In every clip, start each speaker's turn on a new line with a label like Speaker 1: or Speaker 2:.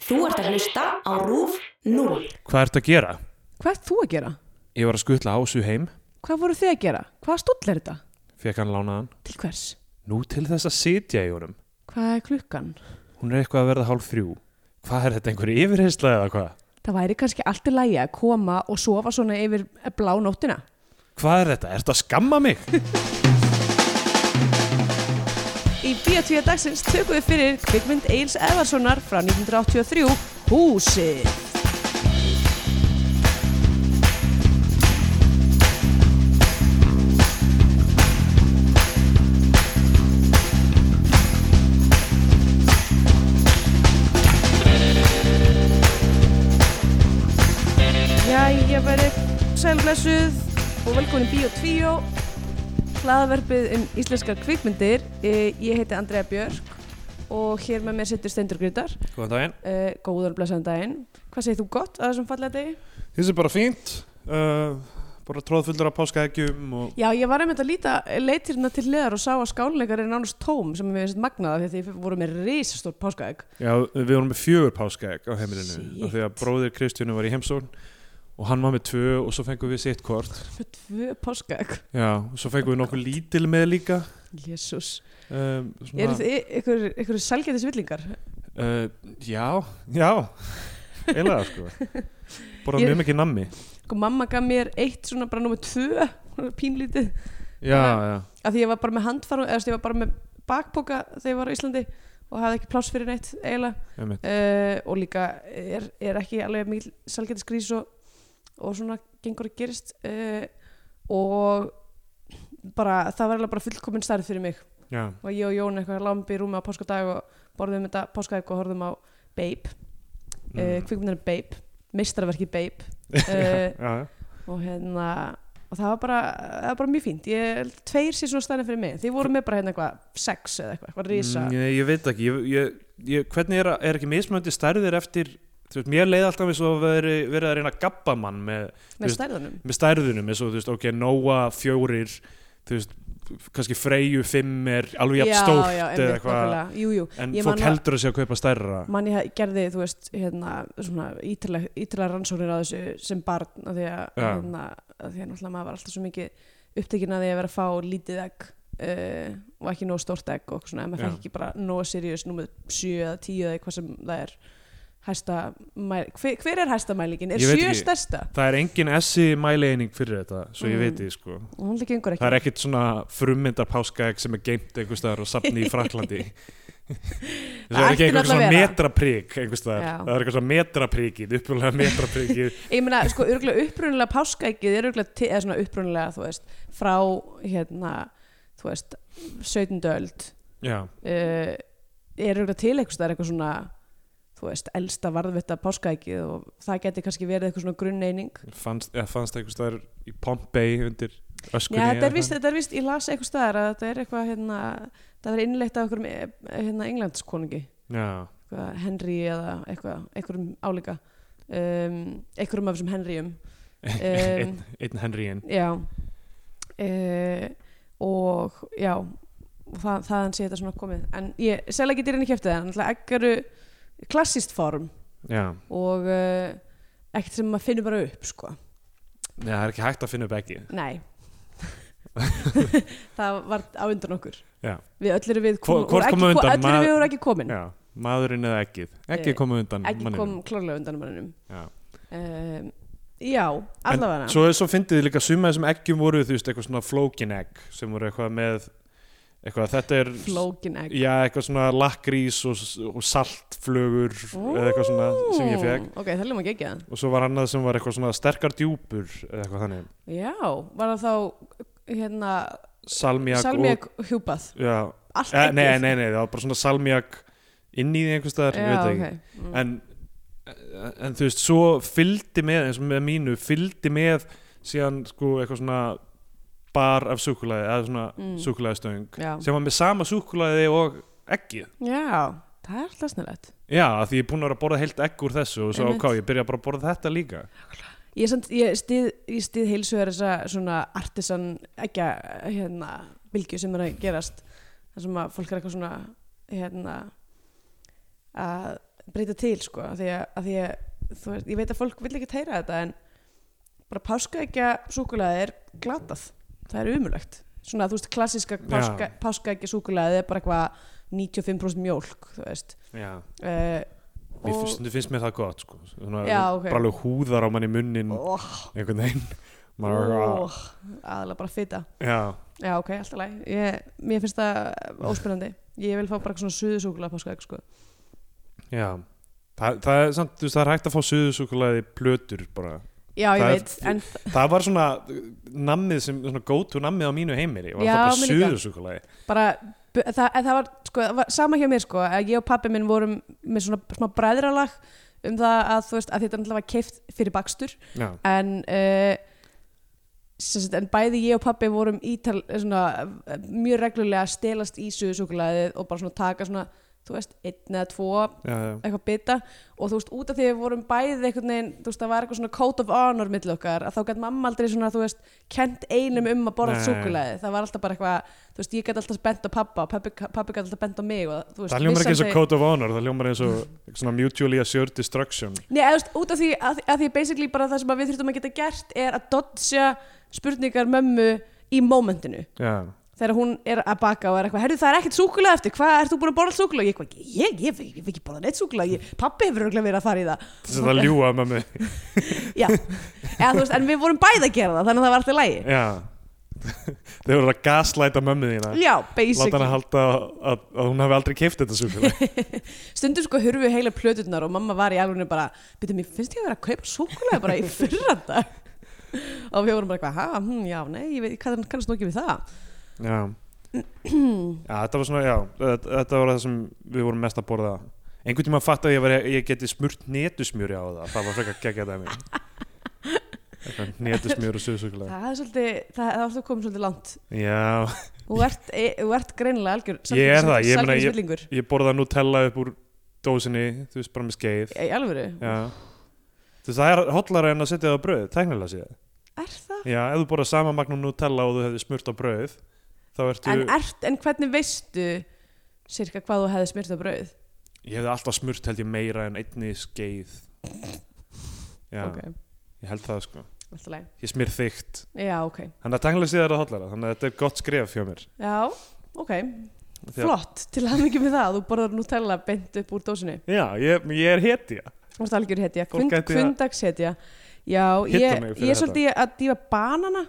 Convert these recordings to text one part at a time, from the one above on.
Speaker 1: Þú ert að hlusta á RÚF 0.
Speaker 2: Hvað ertu að gera?
Speaker 3: Hvað ert þú að gera?
Speaker 2: Ég var að skutla ásu heim,
Speaker 3: Hvað voru þið að gera? Hvaða stóll er þetta?
Speaker 2: fekk hann lánaðan.
Speaker 3: Til hvers?
Speaker 2: Nú til þess að sitja í honum.
Speaker 3: Hvað er klukkan?
Speaker 2: Hún er eitthvað að verða hálf þrjú. Hvað er þetta, einhver yfirheysla eða hvað?
Speaker 3: Það væri kannski allt í lægi að koma og sofa svona yfir blá nóttina.
Speaker 2: Hvað er þetta? Ertu að skamma mig?
Speaker 3: Í Bíotvíða dagsins tökum við fyrir kvikmynd Eils Eðarssonar frá 1983, Húsið. Jæja, verið sælblessuð og velkomin í Bíotvíó hlaðverfið um íslenskar kvikmyndir. Eh, Ég heiti Andrea Björk og hér með mér sittur Steindur Gryndar.
Speaker 2: Góðan daginn.
Speaker 3: Eh, Góðan blessaðan daginn. Hvað segir þú gott að þessum fallega degi?
Speaker 4: Þessi er bara fínt uh, bara tróðfullur af páskaeggjum og
Speaker 3: Já, ég var einmitt að líta leitirna til leðar og sá að skálinleikar er nánast tóm sem við finnst magnaða því að þið voru með risastór páskaegg.
Speaker 4: já, við vorum með fjögur páskaegg á heimilinu
Speaker 3: Shit.
Speaker 4: af því að bróðir Kristjánu var í heimsón og hann var með tvö og svo fengum við sitt kort
Speaker 3: Með tvö páskaegg.
Speaker 4: já, og svo fengum við nokkuð lítil með líka
Speaker 3: Jésús.
Speaker 4: um,
Speaker 3: Eru
Speaker 4: svona,
Speaker 3: þið ykkur, ykkur sælgætisvillingar?
Speaker 4: uh, Já, já eiginlega sko bara
Speaker 3: Ég-
Speaker 4: mjög mikið nammi
Speaker 3: Sko, mamma gaf mér eitt svona bara númer tvö, pínlítið.
Speaker 4: já, já,
Speaker 3: að því ég var bara með handfara eða þú veist, ég var bara með bakpoka þegar ég var á Íslandi og hafði ekki pláss fyrir neitt eiginlega
Speaker 4: einmitt
Speaker 3: uh, og líka er, er ekki alveg mikil salgætisgrís og, og svona gengur að gerist uh, og bara það var alveg bara fullkomin stærð fyrir mig
Speaker 4: já,
Speaker 3: og ég og Jón eitthvað lámbi í rúmi á páskadag og borðum þetta páskadag og horfðum á Babe, mm. uh, kvikmyndinu Babe meistarverki Babe uh,
Speaker 4: já, já.
Speaker 3: og hérna og það var bara, það var bara mjög fínt ég held tveir sér svona stæðin fyrir mig þið voru með bara hérna eitthvað sex eða eitthvað, eitthvað risa
Speaker 4: Mm, ég, ég veit ekki ég, ég, ég, hvernig er, að- er ekki mismöndi stærðir eftir þú veist, mér leið alltaf eins og verið, verið að reyna að gabba mann með
Speaker 3: með
Speaker 4: veist-
Speaker 3: stærðunum
Speaker 4: með stærðunum eins og þú veist, ok, Nóa fjórir þú veist, kannski Freyju fimm er alveg jafn stórt
Speaker 3: já,
Speaker 4: eða eitthvað,
Speaker 3: nákvæmlega. jú, jú.
Speaker 4: en
Speaker 3: Ég man
Speaker 4: fólk
Speaker 3: að-
Speaker 4: heldur að sé að kaupa stærra
Speaker 3: man ég he- gerði, þú veist, hérna svona ítrlega rannsóknir á þessu sem barn, af því að,
Speaker 4: Já.
Speaker 3: hérna, af því að náttúrulega maður var alltaf svo mikið upptekin að því að vera að fá lítið egg uh, og ekki nóg stórt egg og svona, en maður
Speaker 4: Já.
Speaker 3: fæk ekki bara nóg serious númið 7 eða 10 eða eitthvað sem það er hæsta mæl... hver, hver er hæsta mælingin? Er
Speaker 4: Ég veit
Speaker 3: 7
Speaker 4: ekki.
Speaker 3: stærsta?
Speaker 4: það er engin essi mæleining fyrir þetta svo ég
Speaker 3: Mm.
Speaker 4: veit því, sko
Speaker 3: Hún líka yngur ekki.
Speaker 4: það er ekkit svona frummyndar páskaegg sem er geimt einhvers staðar og safni í Fraklandi það er
Speaker 3: ætti
Speaker 4: ekki
Speaker 3: náttúrulega
Speaker 4: einhvers svona
Speaker 3: að vera.
Speaker 4: metraprík einhvers staðar,
Speaker 3: Já.
Speaker 4: það er eitthvað svona metrapríkið upprunalega metrapríkið
Speaker 3: Ég meina, sko, örgulega upprunnilega páskaeggið er örgulega, til- eða svona upprunnilega, þú veist, frá, hérna, þú veist, 17. öld,
Speaker 4: já,
Speaker 3: uh, er örgulega til eitthvað, það er eitthvað svona, þú veist, elsta varðvita páskaeggið og það geti kannski verið eitthvað svona grunneining.
Speaker 4: fannst, ja, fannst einhvers staðar í Pompeii undir öskunni
Speaker 3: Já, þetta
Speaker 4: eða
Speaker 3: er víst,
Speaker 4: eitthvað.
Speaker 3: þetta er víst, ég las eitthvað staðar að þetta er eitthvað, hérna, það er innleitt af einhverjum, eh, hérna, englandskonungi.
Speaker 4: já,
Speaker 3: eitthvað Henry eða eitthvað, einhverjum álíka um, einhverjum af þessum Henryum um,
Speaker 4: einn, einn Henryin
Speaker 3: já uh, og já og það, þaðan sé þetta svona komið en ég, sérlega getur henni kæftið það en alltaf egg eru klassist form
Speaker 4: já
Speaker 3: og uh, ekkert sem maður finnur bara upp sko,
Speaker 4: Nei, það er ekki hægt að finna upp ekki
Speaker 3: nei það var á undan okkur
Speaker 4: Já.
Speaker 3: við öll eru við
Speaker 4: Hvor-
Speaker 3: komin
Speaker 4: hvort
Speaker 3: úr ekki,
Speaker 4: kom á undan?
Speaker 3: öll eru við
Speaker 4: Maður-
Speaker 3: úr ekki komin
Speaker 4: Já, maðurinn eða ekkið
Speaker 3: Eh,
Speaker 4: Ekki koma undan
Speaker 3: ekki kom
Speaker 4: manninum.
Speaker 3: klárlega undan manninum
Speaker 4: Já.
Speaker 3: um, já, allavega
Speaker 4: Svo, svo fyndið þið líka suma þessum eggjum voru þú veist, eitthvað svona flókin egg sem voru eitthvað með eitthvað, þetta er
Speaker 3: flókin egg
Speaker 4: Já, eitthvað svona lakrís og, og saltflögur eða eitthvað svona sem ég fekk
Speaker 3: ok, það ljóma ekki að
Speaker 4: og svo var annað sem var eitthvað svona sterkar djúpur eða eitthvað þannig
Speaker 3: já, var það þá hérna,
Speaker 4: Salmiak og
Speaker 3: salmiak hjúpað
Speaker 4: já,
Speaker 3: allt
Speaker 4: eh, nei,
Speaker 3: eggið?
Speaker 4: nei, nei, það var bara svona salmiak inn í því einhvers staðar, ég
Speaker 3: já,
Speaker 4: veit það ekki
Speaker 3: okay. mm.
Speaker 4: en, en þú veist, svo fylgdi með eins og með mínu, fylgdi með síðan sko eitthvað svona bar af súkulaði, eða svona
Speaker 3: Mm.
Speaker 4: mm. súkulaðistöng
Speaker 3: já.
Speaker 4: sem var með sama súkulaði og eggið
Speaker 3: já, það er alltaf snillett
Speaker 4: já, af því ég er búin að vera að borða heilt egg úr þessu og svo
Speaker 3: Einmitt.
Speaker 4: ok, ég byrja bara að borða þetta líka
Speaker 3: ég, samt, ég stið, ég stið heilsugar þessa svona artisan ekki hérna, bylgju sem er að gerast þar sem að fólk er eitthvað svona hérna að breyta til sko af því að, af því að þú veist, ég veit að fólk vil ekki teyra þetta en bara páska ekki að súkulega er glatað það er umulögt svona þú veist klassiska páska,
Speaker 4: Já.
Speaker 3: páska ekki súkulega er bara eitthvað 95% mjólk þú veist
Speaker 4: já
Speaker 3: uh,
Speaker 4: Mér finnst, stundum finnst mér það gott sko. Svona,
Speaker 3: Já, ok.
Speaker 4: bara alveg húðar á manni munnin
Speaker 3: oh,
Speaker 4: einhvern veginn Maður er
Speaker 3: oh,
Speaker 4: eitthvað,
Speaker 3: aðalega bara fita
Speaker 4: já,
Speaker 3: já ok, alltaf læg ég, mér finnst það óspennandi ég vil fá bara eitthvað svona suðusúkulega páska ekki sko
Speaker 4: já. Þa, það, er, samt, þú veist, það er hægt að fá suðusúkulega plötur bara.
Speaker 3: já ég
Speaker 4: Það er-
Speaker 3: veit, en
Speaker 4: það var svona nammið sem svona gótu nammið á mínu heimili var
Speaker 3: Já,
Speaker 4: það bara
Speaker 3: mér líka.
Speaker 4: suðusúkulega
Speaker 3: bara bu- það, en það var, sko, það var sama hjá mér sko, að ég og pappi minn vorum með svona smá bræðralag um það að þú veist að þetta náttúrulega var keift fyrir bakstur
Speaker 4: já,
Speaker 3: en uh, sagt, en bæði ég og pappi vorum ítal eh, svona, eh, mjög reglulega að stelast í suðusúkulæðið og bara svona taka svona þú veist, einn eða tvo
Speaker 4: já, já.
Speaker 3: eitthvað bita og þú veist, út af því við vorum bæðið einhvern veginn, þú veist, það var eitthvað svona code of honor millir okkar, að þá gætt mamma aldrei svona, þú veist, kent einum um að borða
Speaker 4: Nei.
Speaker 3: súkulæði, það var alltaf bara eitthvað þú veist, ég gætt alltaf bent á pappa og pappi, pappi gætt alltaf bent á mig og þú veist,
Speaker 4: það hljómar ekki
Speaker 3: vissi
Speaker 4: eins og
Speaker 3: aldrei-
Speaker 4: code of honor það hljómar eins og svona mutually assured destruction
Speaker 3: Nei, eða, þú veist, út af því, að, að því basically bara það sem að við þurftum að geta gert er að dodja spurningar mömmu í momentinu
Speaker 4: já,
Speaker 3: þegar hún er að baka og er eitthvað, herru það er ekkert súkulega eftir, hvað ert þú búin að borða súkulega? Ég, eitthvað, ég, ég, ég, ég, ekki borða neitt súkulega, ég, pappi hefur örugglega verið að fara í það.
Speaker 4: þess að það ljúa með mig
Speaker 3: Já, eða þú veist, en við vorum bæði að gera það þannig að það var alltaf lægi
Speaker 4: já þau voru að gaslæta mömmu þína
Speaker 3: Já,
Speaker 4: láta hann
Speaker 3: basically,
Speaker 4: að halda að, að hún hafi aldrei keift þetta súkulega
Speaker 3: stundum sko hurfu heila plöturnar og mamma var í alvegni bara Býtum, mér finnst ég að vera að kaupa súkulega bara í fyrranda Og við vorum bara eitthvað, ha, hm, já, nei, ég veit, kann, kannast nú ekki við það
Speaker 4: já. já, þetta var svona, já þetta, þetta var það sem við vorum mest að borða einhvern tímann fatt að ég, var, ég geti smurt netusmjöri á það, það var frekar geggja dæmi Eitthvað netusmjör og suðsúkulega
Speaker 3: Það er svolítið, það það er alltaf komið svolítið langt
Speaker 4: já,
Speaker 3: Þú ert, e, þú ert greinilega algjör
Speaker 4: Ég er það, ég meina, ég-
Speaker 3: Sælgjörsvillingur,
Speaker 4: ég borða Nutella upp úr dósinni, þú veist bara með skeið
Speaker 3: í alvöru,
Speaker 4: já Þú veist, það er hotlara en að setja það á brauð, tæknilega séð.
Speaker 3: er það?
Speaker 4: Já, ef þú borðar sama magnum Nutella og þú hefði smurt á brauð, þá ertu...
Speaker 3: En, ert, en hvernig veistu sirka hvað þú hefði smyrt á brauð?
Speaker 4: Ég hefði alltaf smurt held ég meira en einni skeið Já,
Speaker 3: Ok,
Speaker 4: ég held það sko
Speaker 3: alltaf lægi
Speaker 4: Ég smyr þygt
Speaker 3: Já, ok,
Speaker 4: Þannig að tanglega síðar að hotlara Þannig að þetta er gott skref hjá mér
Speaker 3: já, ok
Speaker 4: Því að-
Speaker 3: Flott, til að mikið með það, þú borðar Nutella beint upp úr dósinni.
Speaker 4: Já, ég, ég er hetja
Speaker 3: Þú ert algjör hetja,
Speaker 4: Fólk
Speaker 3: Kund,
Speaker 4: gæti að-
Speaker 3: kundagshetja. Já,
Speaker 4: Hitta
Speaker 3: ég,
Speaker 4: mig fyrir
Speaker 3: ég er
Speaker 4: þetta.
Speaker 3: svolítið að dýfa banana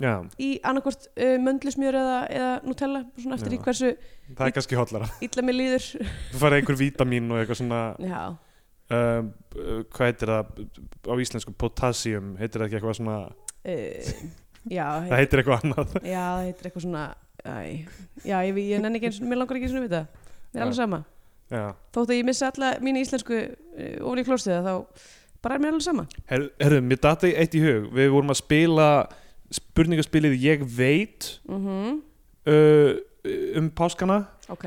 Speaker 4: Já,
Speaker 3: í annarkvort uh, möndlusmjör eða, eða Nutella, svona eftir
Speaker 4: Já.
Speaker 3: í hversu
Speaker 4: það er kannski hotlara
Speaker 3: illa mér líður.
Speaker 4: Þú farið einhver vítamín og eitthvað svona
Speaker 3: Já,
Speaker 4: um, uh, Hvað heitir það á íslensku? Potassium, heitir það ekki eitthvað svona
Speaker 3: uh, já,
Speaker 4: Það
Speaker 3: heit,
Speaker 4: heitir eitthvað annað
Speaker 3: já, það heitir eitthvað svona, æ, já, ég, ég, ég nenni ekki, eins- mér langar ekki einu sinni við það.
Speaker 4: Já.
Speaker 3: Mér er alveg sama.
Speaker 4: Já
Speaker 3: Þótt að ég missa alla mín íslensku uh, ofan í klóstiða, þá bara er mér alveg sama.
Speaker 4: Her, Herðu, mér data eitt í hug Við vorum að spila spurningaspilið Ég veit
Speaker 3: Mm
Speaker 4: uh, um páskana
Speaker 3: Ok,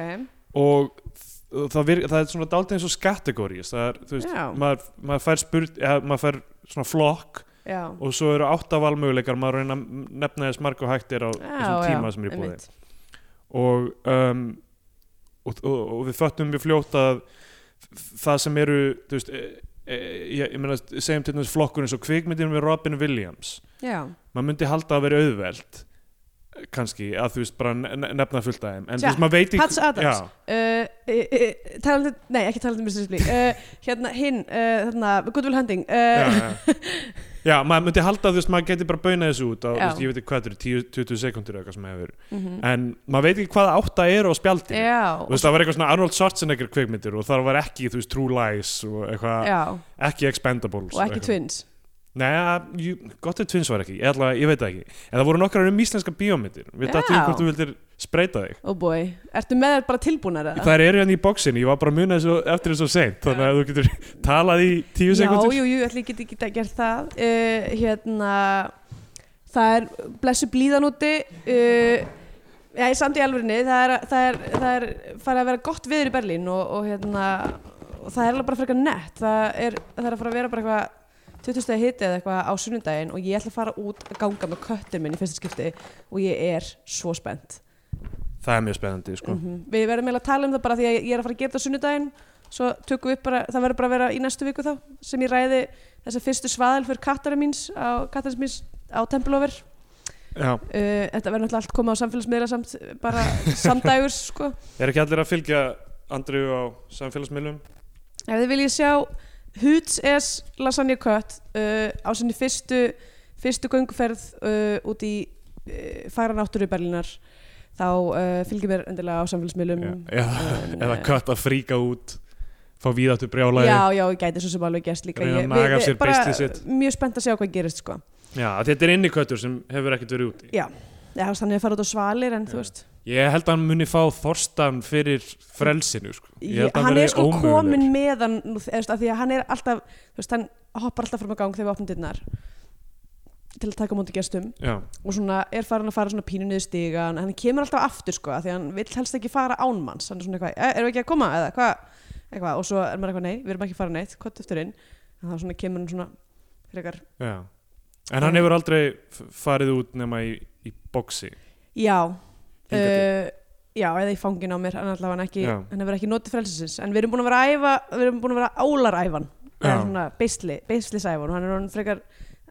Speaker 4: og þ- það, vir, það er svona dálítið eins og kategórið það er, þú veist,
Speaker 3: Já.
Speaker 4: maður, maður fær spurt eða, maður fær svona flokk
Speaker 3: já.
Speaker 4: og svo eru átta valmöguleikar maður reyna að nefna þess marg og hættir á þessum tíma sem er í búði
Speaker 3: einmitt.
Speaker 4: og, um, og, og, og við föttum við fljótt að það sem eru þú veist, e, e, ég, ég meina segjum til þess flokkur eins og kvikmyndinum við Robin Williams
Speaker 3: Já,
Speaker 4: maður myndi halda að vera auðveld kannski að þú veist bara ne- ne- nefna fullt af þeim en þú
Speaker 3: Tja,
Speaker 4: veist maður veit
Speaker 3: Patch Adams.
Speaker 4: Já.
Speaker 3: uh, uh, talandi, nei ekki talandi um Mr. Ripley uh, hérna hinn, uh, þarna Good Will Hunting
Speaker 4: já,
Speaker 3: uh,
Speaker 4: já. já, maður myndi halda þú veist, maður geti bara baunað þessu út á, þú
Speaker 3: Já.
Speaker 4: veist, ég veit ekki hvað þetta eru, 10 20 sekundur eða eitthvað sem hefur,
Speaker 3: mm
Speaker 4: en maður veit ekki hvað átta eru á spjaldi,
Speaker 3: já,
Speaker 4: þú veist, það var eitthvað svona Arnold Schwarzenegger kvikmyndir og þar var ekki, þú veist, True Lies og eitthvað,
Speaker 3: já
Speaker 4: ekki Expendables
Speaker 3: og ekki
Speaker 4: eitthvað.
Speaker 3: Twins
Speaker 4: Nei, jú, gott ef Twins var ekki, ég, ætla, ég veit það ekki en það voru nokkrar um íslenska bíómyndir við
Speaker 3: Já.
Speaker 4: dættum hvort þú vildir spreita þig
Speaker 3: oh boy, ertu með þær bara tilbúnar eða?
Speaker 4: Það eru henni í bóksinni, ég var bara að muna þessu eftir þessu seint, þannig að þú getur talað í tíu
Speaker 3: já,
Speaker 4: sekundur
Speaker 3: jú, jú, ætli ég get ekki gert það uh, hérna það er blessu blíðan úti uh, Já, samt í alvörinni, það er, það, er, það er farið að vera gott viður í Berlín og, og, hérna, og það er alveg bara frekar nett. Það er, það er að fara að vera bara eitthvað 20 stegi hiti eða eitthvað á sunnudaginn og ég ætla að fara út að ganga með köttin minn í fyrsta skipti og ég er svo spennt.
Speaker 4: Það er mjög spennandi, sko
Speaker 3: Mhm. Við verðum eiginlega að tala um það bara því að ég er að fara að gera þetta á sunnudaginn svo tökum við upp bara, það verður bara að vera í næstu viku þá sem ég ræði þessa fyrstu svaðal fyrir kattarins míns á, kattarins míns á Tempelhofer
Speaker 4: Já.
Speaker 3: uh, þetta verður náttúrulega allt koma á samfélagsmiðla samt, bara samdægurs sko.
Speaker 4: Er ekki allir að fylgja Andriðu á samfélagsmiðlum?
Speaker 3: ef þið viljið sjá Hoots S Lasagna Cut uh, á sinni fyrstu fyrstu gönguferð uh, út í uh, færa náttúru Berlínar þá uh, fylgjum mér endilega á samfélagsmiðlum
Speaker 2: Já,
Speaker 3: En,
Speaker 2: eða
Speaker 3: eh,
Speaker 2: kött að fríka út fá víðáttu brjálæði
Speaker 3: Já, já, ég gæti svo sem alveg gæst líka
Speaker 4: Reyna að
Speaker 3: Ég-
Speaker 4: naga
Speaker 3: við-
Speaker 4: af sér
Speaker 3: bara
Speaker 4: beislið sitt.
Speaker 3: Mjög spennt að sjá hvað gerist sko
Speaker 4: Já, þetta er inniköttur sem hefur ekkert verið úti.
Speaker 3: Já, já þannig að fara út á svalir en þú veist
Speaker 2: Ég held að hann muni fá þorstan fyrir frelsinu sko. Ég
Speaker 3: ég,
Speaker 2: held að
Speaker 3: Hann
Speaker 2: verði
Speaker 3: er sko
Speaker 2: ómögulegur.
Speaker 3: komin með hann nú, eða, þú veist, af því að hann er alltaf þú veist, hann hoppar alltaf fram að gang þegar við opnum dyrnar til að taka á móti gestum
Speaker 4: Já,
Speaker 3: og svona er farin að fara svona pínu niður stigan en hann kemur alltaf aftur sko af því að hann vill helst ekki fara ánmanns hann er svona eitthvað, "Eh, erum við ekki að koma eða hvað eitthvað og svo er maður eitthvað nei, við erum ekki að fara neitt hvað eftir inn, en þá svona kemur hann svona frekar,
Speaker 4: já. En hann hefur aldrei f- farið út nema í, í boksi.
Speaker 3: já
Speaker 4: Hingað til.
Speaker 3: uh, já, eða í fangin á mér hann, allavega hann, ekki,
Speaker 4: Já.
Speaker 3: hann hefur ekki notið frelsisins en við erum búin að vera að æfa, við erum búin að vera að álaræfan eða
Speaker 4: Já.
Speaker 3: svona beisli, beislisæfan og hann er hann frekar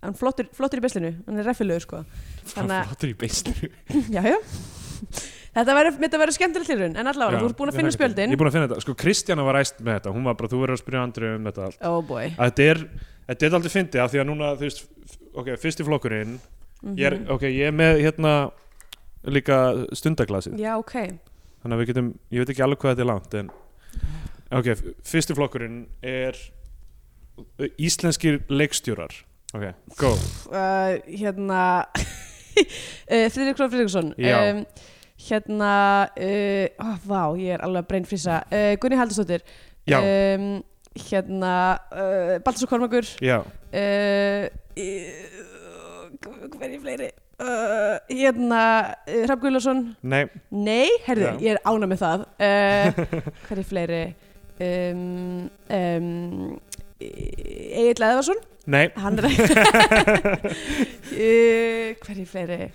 Speaker 3: hann flottur, flottur í beislinu, hann er reffilegur sko þannig að
Speaker 2: Flottur í beislinu
Speaker 3: Já, já. Þetta verður þetta verður skemmtileg tilraun, en allavega,
Speaker 4: Já,
Speaker 3: þú ert búin að
Speaker 4: ég
Speaker 3: finna
Speaker 4: hlakka til.
Speaker 3: spjöldin.
Speaker 4: Ég er búin að finna þetta. Sko, Kristjana var æst með þetta. Hún var bara, þú verður að spyrja Andriðu um þetta allt.
Speaker 3: Oh boy.
Speaker 4: Að Þetta er, þetta er aldrei fyndið af því að núna, þú veist, f- ok, fyrsti flokkurinn, ég er, ok, ég er með hérna líka stundaglasið.
Speaker 3: Mhm. Já, ok.
Speaker 4: þannig að við getum, ég veit ekki alveg hvað þetta er langt en ok, f- fyrsti flokkurinn er íslenskir leikstjórar ok, go
Speaker 3: Uh, hérna, uh, Friðrik Róð Friðriksson. um,
Speaker 4: Já.
Speaker 3: hérna, uh, oh, vá, ég er alveg að breynfrísa. Uh, Gunni Haldursdóttir.
Speaker 4: já,
Speaker 3: Um, hérna, uh, Baltasar Kormakur.
Speaker 4: já,
Speaker 3: Uh, uh, hver er ég fleiri? Uh, hérna, uh, Hrafn Guðlason.
Speaker 4: nei
Speaker 3: Nei, herðu,
Speaker 4: Já.
Speaker 3: ég er ána með það uh, Hver er fleiri? Um, um, Egil Eðvarsson
Speaker 4: nei,
Speaker 3: Hann er uh, Hver er fleiri?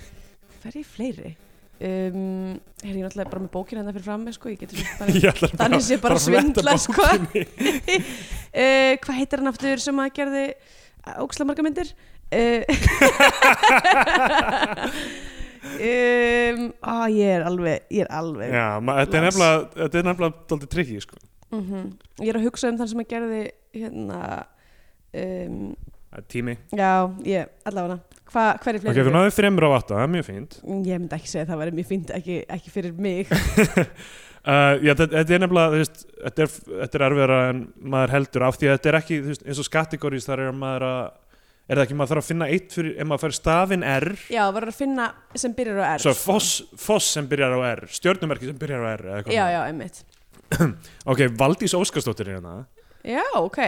Speaker 3: Hver er fleiri? Um, herðu, ég er náttúrulega bara með bókina hérna fyrir fram með sko, ég getur bara
Speaker 2: Ég ætlar bara
Speaker 3: Þannig sé bara
Speaker 2: bara að fletta
Speaker 3: svindla sko uh, Hvað heitir hann aftur sem að gerði óksla marga myndir? Uh, um, á, ég er alveg ég er alveg
Speaker 4: já, ma, þetta er
Speaker 3: Lans.
Speaker 4: nefnilega þetta er nefnilega daldið trikki sko
Speaker 3: -hmm. Ég er að hugsa um þann sem að gerði hérna um,
Speaker 4: Það er tími,
Speaker 3: Já, ég, allavega Hva, Hver er
Speaker 4: ok,
Speaker 3: fleiri?
Speaker 4: við náðum þremur á átta, það er mjög fínt
Speaker 3: Ég myndi ekki segja að það væri mjög fínt ekki, ekki fyrir mig
Speaker 4: Uh, já, þetta, þetta er nefnilega, þú veist, þetta er, þetta er erfiðara en maður heldur af því að þetta er ekki, þú veist, eins og kategórís þar er maður að, er það ekki, maður þarf að finna eitt fyrir, ef maður fær stafinn R,
Speaker 3: Já, verður að finna sem byrjar á R
Speaker 4: svo foss, foss sem byrjar á R, stjörnumerki sem byrjar á R, eða
Speaker 3: Já,
Speaker 4: eitthvað.
Speaker 3: já, einmitt
Speaker 4: Ok, Valdís Óskarsdóttir er hérna,
Speaker 3: Já, ok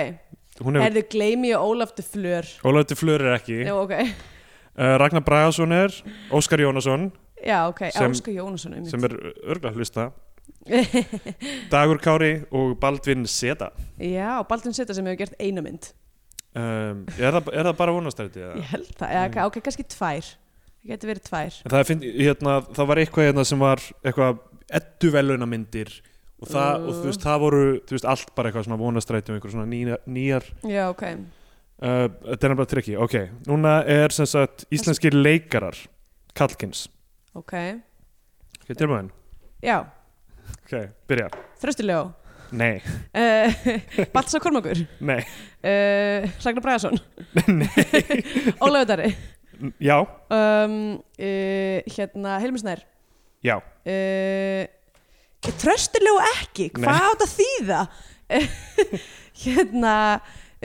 Speaker 4: hún hefur,
Speaker 3: Erðu gleymi og Ólaf de Fleur
Speaker 4: Ólafur Flur er ekki,
Speaker 3: Já,
Speaker 4: uh,
Speaker 3: ok
Speaker 4: Ragnar Bragason er, Óskar Jónasson,
Speaker 3: Já, ok,
Speaker 4: Sem-
Speaker 3: Áska Jónasson einmitt
Speaker 4: sem er örgla hlusta, Dagur Kári og Baldvin Seta.
Speaker 3: Já, Baldin Seta sem hefur gert eina mynd
Speaker 4: Um, er, það, er það bara vonastætti?
Speaker 3: Ég held það,
Speaker 4: Mm.
Speaker 3: eða, ok, kannski tvær Það getur verið tvær
Speaker 4: En það, finn, hérna, það var eitthvað hérna sem var eitthvað edduvelunamyndir og, það, og þú veist, það voru þú veist, allt bara eitthvað svona vonastræti og einhver svona nýjar, nýjar
Speaker 3: Já, ok
Speaker 4: uh, þetta er nefnilega trikki, ok núna er sem sagt íslenskir leikarar Kallkins,
Speaker 3: Ok,
Speaker 4: ok, tilbúin
Speaker 3: já,
Speaker 4: ok, byrja,
Speaker 3: þröstuljó
Speaker 4: nei,
Speaker 3: uh, Baltsa Kormakur
Speaker 4: nei
Speaker 3: uh, Ragnar Bræðarsson Ólafur Dari
Speaker 4: N- já,
Speaker 3: um, uh, hérna Hilmi Snær
Speaker 4: já,
Speaker 3: uh, tröstilega ekki
Speaker 4: Nei.
Speaker 3: hvað á þetta að þýða Eh, hérna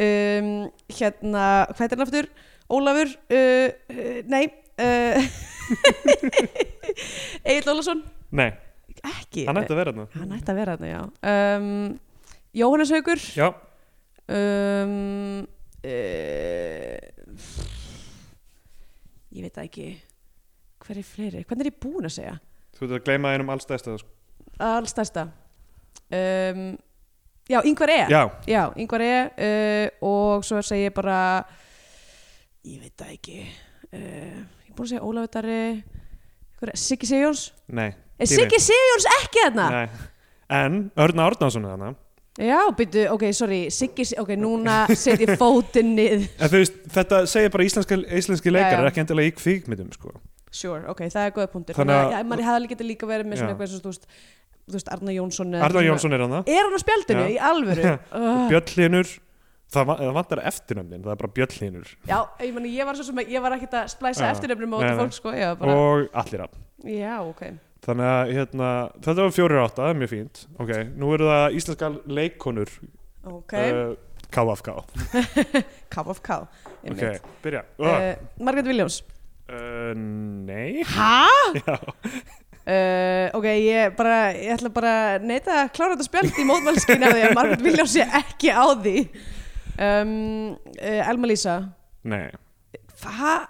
Speaker 3: um, hérna hvað er hann aftur Ólafur uh, uh, nei uh, Egil Ólafsson
Speaker 4: nei
Speaker 3: ekki
Speaker 4: hann ætti að vera þarna
Speaker 3: Hann ætti að vera þarna, já um, Jóhannes Haugur
Speaker 4: já,
Speaker 3: um, uh, Ég veit það ekki Hver er fleiri? Hvernig er ég búin að segja?
Speaker 4: þú veit að gleyma einum alls dæsta sko.
Speaker 3: Allstærsta um, Já, yngvar E
Speaker 4: já,
Speaker 3: já yngvar E uh, og svo segi ég bara Ég veit það ekki uh, Ég er búin að segja Ólafur Darri hver er- Siggi Sigjóns
Speaker 4: nei,
Speaker 3: Er
Speaker 4: Tími.
Speaker 3: Siggi Sigjóns ekki þarna?
Speaker 4: nei en Örn Árnason er þarna
Speaker 3: Já, byrju, ok, sorry, Siggi, ok, núna set ég fótinn niður.
Speaker 4: En þú veist, þetta segir bara íslenski, íslenski leikar
Speaker 3: já.
Speaker 4: ekki endilega í kvíkmyndum sko.
Speaker 3: Sure, ok, það er góða punktur.
Speaker 4: Þannig
Speaker 3: Þannig
Speaker 4: að-
Speaker 3: að, já, mann hefði líka getið líka verið
Speaker 4: Já.
Speaker 3: með svona eitthvað eins og, þú veist, þú veist, Arna Jónsson. eða
Speaker 4: Arnar
Speaker 3: svona-
Speaker 4: Jónsson er hann það
Speaker 3: Er hann á spjaldinu,
Speaker 4: Já.
Speaker 3: í alvöru? Uh,
Speaker 4: Björn Hlynur það, va- það vantar eftirnöfnin, það er bara Björn Hlynur
Speaker 3: já, ég, meni, ég var svo sem að ég var ekkert að splæsa
Speaker 4: Já.
Speaker 3: eftirnefnum á
Speaker 4: Nei,
Speaker 3: þetta
Speaker 4: nei.
Speaker 3: fólk, sko, ég var bara,
Speaker 4: og allir að
Speaker 3: já, ok.
Speaker 4: þannig að hérna, þetta var fjórir átta, það er mjög fínt ok, nú eru það íslenska leikonur
Speaker 3: Ok,
Speaker 4: uh, KFK
Speaker 3: cup of cow, ég
Speaker 4: ok,
Speaker 3: mynd.
Speaker 4: byrja uh,
Speaker 3: Uh, Margaret Williams.
Speaker 4: uh, nei,
Speaker 3: Hæ?
Speaker 4: já
Speaker 3: Uh, ok, ég, bara, ég ætla bara að neita að klára þetta spjald í mótmælskinu af því að Margaret Williams sé ekki á því um, uh, Elma Lísa
Speaker 4: nei,
Speaker 3: Hvað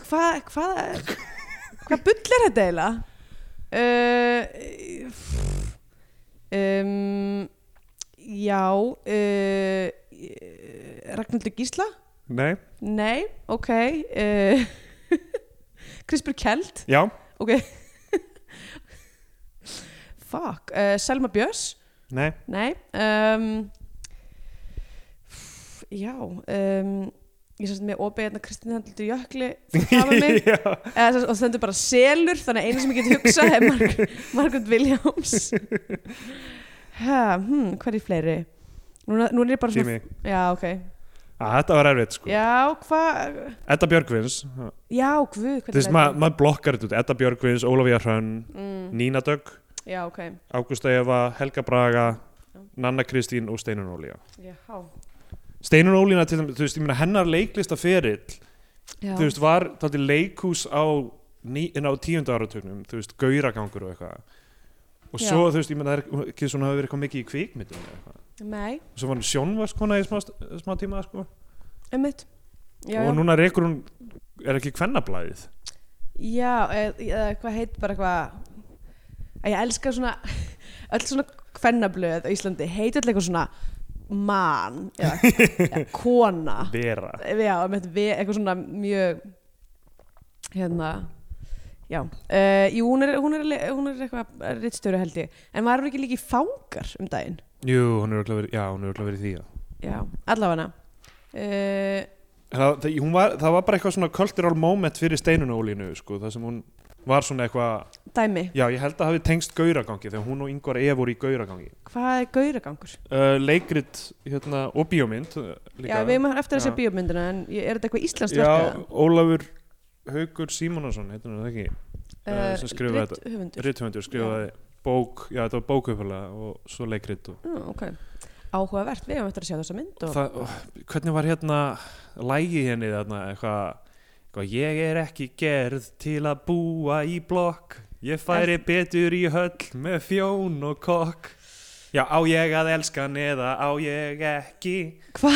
Speaker 3: Hvað Hvað hva bull er þetta eiginlega? Uh, um, já uh, Ragnhildur Gísla?
Speaker 4: nei,
Speaker 3: Nei, ok uh, Krispur Kjeld
Speaker 4: já
Speaker 3: Ok Fuck uh, Selma Björs
Speaker 4: nei,
Speaker 3: Nei um, Já um, Ég sem sagt með opið hérna Kristín Hendildur Jökli Það var mig
Speaker 4: já,
Speaker 3: Eða, sem sagt- Og stendur bara selur Þannig að eina sem ég get hugsað er Marg Margaret Williams ha, hmm, Hvað er fleiri? Núna, núna er ég bara svona
Speaker 4: Jimmy
Speaker 3: Já, ok
Speaker 4: að þetta var erfitt sko
Speaker 3: Já, hvað
Speaker 4: Edda Björgvins, þú
Speaker 3: Já, guð hvernig
Speaker 4: veist,
Speaker 3: læt
Speaker 4: maður
Speaker 3: ég?
Speaker 4: mað blokkar þetta út Edda Björgvins, Ólafía Hrönn,
Speaker 3: mm,
Speaker 4: Nína Dögg
Speaker 3: Já, ok
Speaker 4: Ágústa Eva, Helga Braga Nanna Kristín og Steinun Ólíja
Speaker 3: Já,
Speaker 4: Steinun Ólína til dæmis, þú veist, ég meina hennar leiklista ferill,
Speaker 3: já.
Speaker 4: þú veist, var þátti leikhús á, ný, inn á tíunda áratugnum, þú veist, gauragangur og eitthvað og
Speaker 3: Já.
Speaker 4: svo, þú veist, ég meina það er ekki svona hafi verið eitthvað mikið í kvikmyndum eða eitthvað.
Speaker 3: Nei,
Speaker 4: og svo var hann sjónvarskona í smá, smá tíma sko.
Speaker 3: einmitt já, já.
Speaker 4: og núna rekur hún er ekki kvennablaðið
Speaker 3: Já, eða eða hvað heit bara eitthvað að ég elska svona öll svona kvennablöð á Íslandi heit öll eitthvað svona man eða, eða kona
Speaker 4: Vera
Speaker 3: já, með eitthvað svona mjög hérna já, uh, jú, hún er, hún er, hún er eitthvað rittstjóri held ég en var hún ekki líka í fangar um daginn
Speaker 4: Jú, hún er örugglega verið, já, hún er örugglega verið í því já.
Speaker 3: já, allavega uh,
Speaker 4: það, það, hún var, það var bara eitthvað svona cultural moment fyrir Steinun Ólínu sko, það sem hún var svona eitthvað
Speaker 3: dæmi,
Speaker 4: Já, ég held að hafi tengst gauragangi þegar hún og Ingvar Eð voru í gauragangi
Speaker 3: hvað er gauragangur?
Speaker 4: uh, Leikrit hérna, og bíómynd uh,
Speaker 3: já,
Speaker 4: líka.
Speaker 3: við erum eftir þessi
Speaker 4: Já.
Speaker 3: bíómyndina en ég- er þetta eitthvað íslenskt verk eða?
Speaker 4: Já, Ólafur Haugur Símonarsson heitir hann er það ekki Eh, sem skrifaði
Speaker 3: ritt- höfundur
Speaker 4: Rithöfundur skrifaði bók, já þetta var bók uppalega og svo leikrit og
Speaker 3: mm, okay. áhugavert, við hefum eftir að sjá þessa mynd og...
Speaker 4: það, ó, Hvernig var hérna lægi henni þarna eitthvað eitthvað, Ég er ekki gerð til að búa í blokk Ég færi betur í höll með fjón og kokk Já, á ég að elska hann eða á ég ekki
Speaker 3: Hva?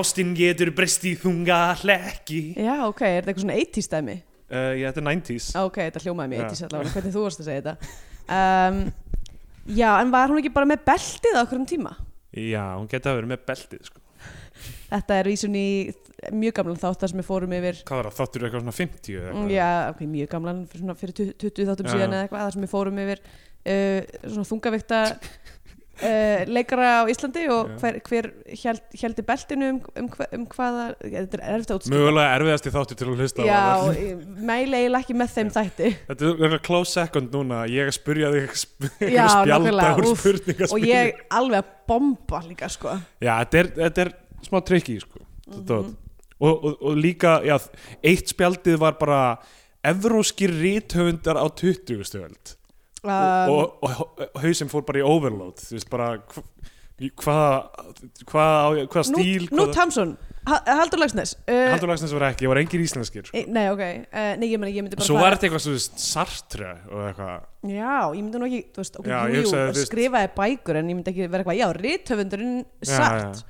Speaker 4: Ástinn getur breyst í þunga hlekki
Speaker 3: já, ok, er þetta eitthvað svona 80s dæmi
Speaker 4: uh, Já, þetta er 90s
Speaker 3: Á, ok, þetta hljómaði mér
Speaker 4: Já.
Speaker 3: 80s allavega hvernig þú varst að segja þetta um, já, en var hún ekki bara með beltið á okkur um tíma?
Speaker 4: Já, hún geti að vera með beltið sko.
Speaker 3: þetta er vísun í mjög gamlan þátt þar sem við fórum yfir Mm,
Speaker 4: Hvað var það, þáttur eitthvað svona 50 eða eitthvað?
Speaker 3: já, ok, mjög gamlan fyrir svona fyrir 20 20 þáttum
Speaker 4: Já.
Speaker 3: síðan eða eitthvað þar sem við fórum yfir uh, svona þungavikta uh, leikara á Íslandi og
Speaker 4: Já.
Speaker 3: hver, hver held, heldi beltinu um, um, hva- um hvaða þetta er erfitt að útskýra
Speaker 4: Mögulega erfiðasti þáttur til að hlusta á af
Speaker 3: Já,
Speaker 4: öllum.
Speaker 3: ég mæli eiginlega ekki með þeim þætti
Speaker 4: Þetta er örugglega close second núna Ég að spurja þig sp-
Speaker 3: Já,
Speaker 4: einhverja spjalda
Speaker 3: nákvæmlega,
Speaker 4: úr
Speaker 3: úff.
Speaker 4: spurningaspil
Speaker 3: og ég alveg að bomba líka sko
Speaker 4: Já, þetta er, þetta er smá tricky sko. mm
Speaker 3: Mhm.
Speaker 4: og, og, og líka já, eitt spjaldið var bara Evróskir rithöfundar á 20. stöld
Speaker 3: um,
Speaker 4: og, og, og hausinn fór bara í overload Þú veist bara hva- í hvaða hvaða hvað
Speaker 3: Nú,
Speaker 4: stíl
Speaker 3: nú
Speaker 4: hvaða-
Speaker 3: Tamsun, Haldur Lagsnes uh,
Speaker 4: Halldór Lagsnes var ekki, það var engir íslenskir sko.
Speaker 3: e- Nei, ok, uh, nei, ég meni, ég myndi bara
Speaker 4: Svo var þetta eitthvað svo veist, sartre og eitthvað
Speaker 3: Já, ég myndi nú ekki, þú veist, ok,
Speaker 4: Já, ég
Speaker 3: jú, jú,
Speaker 4: hugsaði, þú veist-
Speaker 3: skrifaði bækur en ég myndi ekki vera eitthvað, já, rithöfundurinn
Speaker 4: Já,
Speaker 3: sart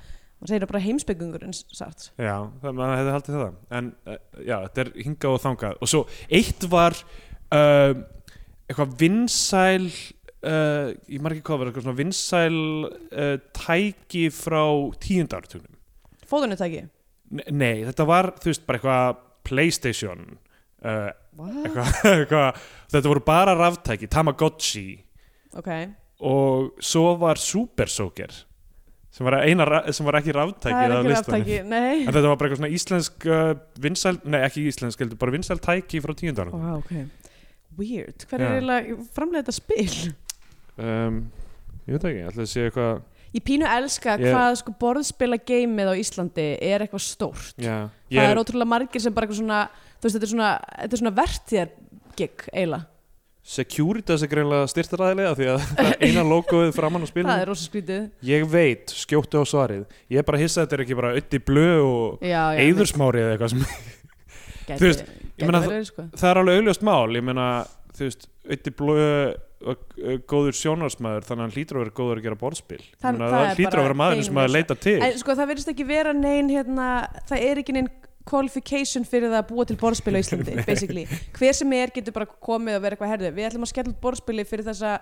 Speaker 3: og segir það bara heimsbyggungurinn sart
Speaker 4: Já, það maður hefði haldið það en uh, já, þetta er hingað og þangað og svo eitt var uh, eitthvað vinsæl uh, ég margir hvað var eitthvað svona vinsæl uh, tæki frá tíundartugnum
Speaker 3: Fóðunutæki
Speaker 4: N Nei, þetta var þú veist bara eitthvað Playstation uh,
Speaker 3: What?
Speaker 4: eitthvað, eitthvað, þetta voru bara ráftæki Tamagotchi
Speaker 3: Ok,
Speaker 4: og svo var Super Soaker sem var, eina, ra- sem var ekki ráftæki
Speaker 3: það er ekki ráttæki, nei
Speaker 4: en þetta var bara eitthvað svona íslensk uh, vinsæl, nei ekki íslensk, heldur bara vinsæl tæki frá tíundanum
Speaker 3: wow, okay. weird,
Speaker 4: Já.
Speaker 3: hver er eiginlega framlega þetta spil?
Speaker 4: um, ég veit ekki, ætlaði að sé eitthvað
Speaker 3: Ég pínu elska
Speaker 4: Ég-
Speaker 3: hvað sko borðspila geimið á Íslandi er eitthvað stórt
Speaker 4: já, ég
Speaker 3: Það er ótrúlega margir sem bara eitthvað svona þú veist, þetta er svona, þetta er svona vertíðar gig eiginlega,
Speaker 4: Securitas er greinlega styrtaræðilega því að það er eina logoið framann á spilinu
Speaker 3: það er rosa skrítið
Speaker 4: Ég veit, skjóttu á svarið Ég er bara hissa að þetta er ekki bara ötti blö og
Speaker 3: Já, já,
Speaker 4: eðursmári eða eitthvað sem
Speaker 3: gæti-
Speaker 4: þú veist,
Speaker 3: gæti
Speaker 4: meina,
Speaker 3: vel verið, sko.
Speaker 4: Það er alveg augljóst mál, ég meina þú veist, ötti blö og uh, góður sjónarsmaður þannig að hann hlýtur að vera góður að gera borðspil
Speaker 3: Það-
Speaker 4: Þannig að
Speaker 3: það
Speaker 4: það
Speaker 3: er
Speaker 4: hlýtur
Speaker 3: bara
Speaker 4: að vera maður sem
Speaker 3: einum
Speaker 4: maður
Speaker 3: ljósa.
Speaker 4: leita til
Speaker 3: En sko það verðist ekki vera nein hérna, það er ekki nein qualification fyrir það að búa til borðspil á Íslandi basically, hver sem er getur bara komið og verið eitthvað herðu, við ætlum að skella út borðspili fyrir þessa,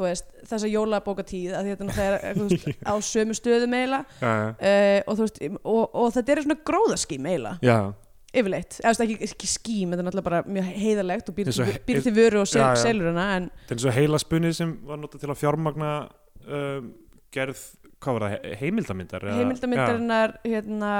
Speaker 3: þú veist, þessa jólabókatíð að þetta náttúrulega er þú veist, á sömu stöðum eiginlega
Speaker 4: Já,
Speaker 3: uh, og, þú veist, og, og þetta er svona gróðaskím eiginlega,
Speaker 4: Já,
Speaker 3: yfirleitt eða þú veist, ekki, ekki skím, þetta er náttúrulega bara mjög heiðalegt og býr,
Speaker 4: Eins og-
Speaker 3: til- býr til vöru og sel,
Speaker 4: Já, já.
Speaker 3: selur hana en
Speaker 4: þetta er svo heila spunnið sem var notað til að fjármagna um, gerð, hvað var það, he- heimildamyndar eða- Já.
Speaker 3: heimildamindarinnar hérna,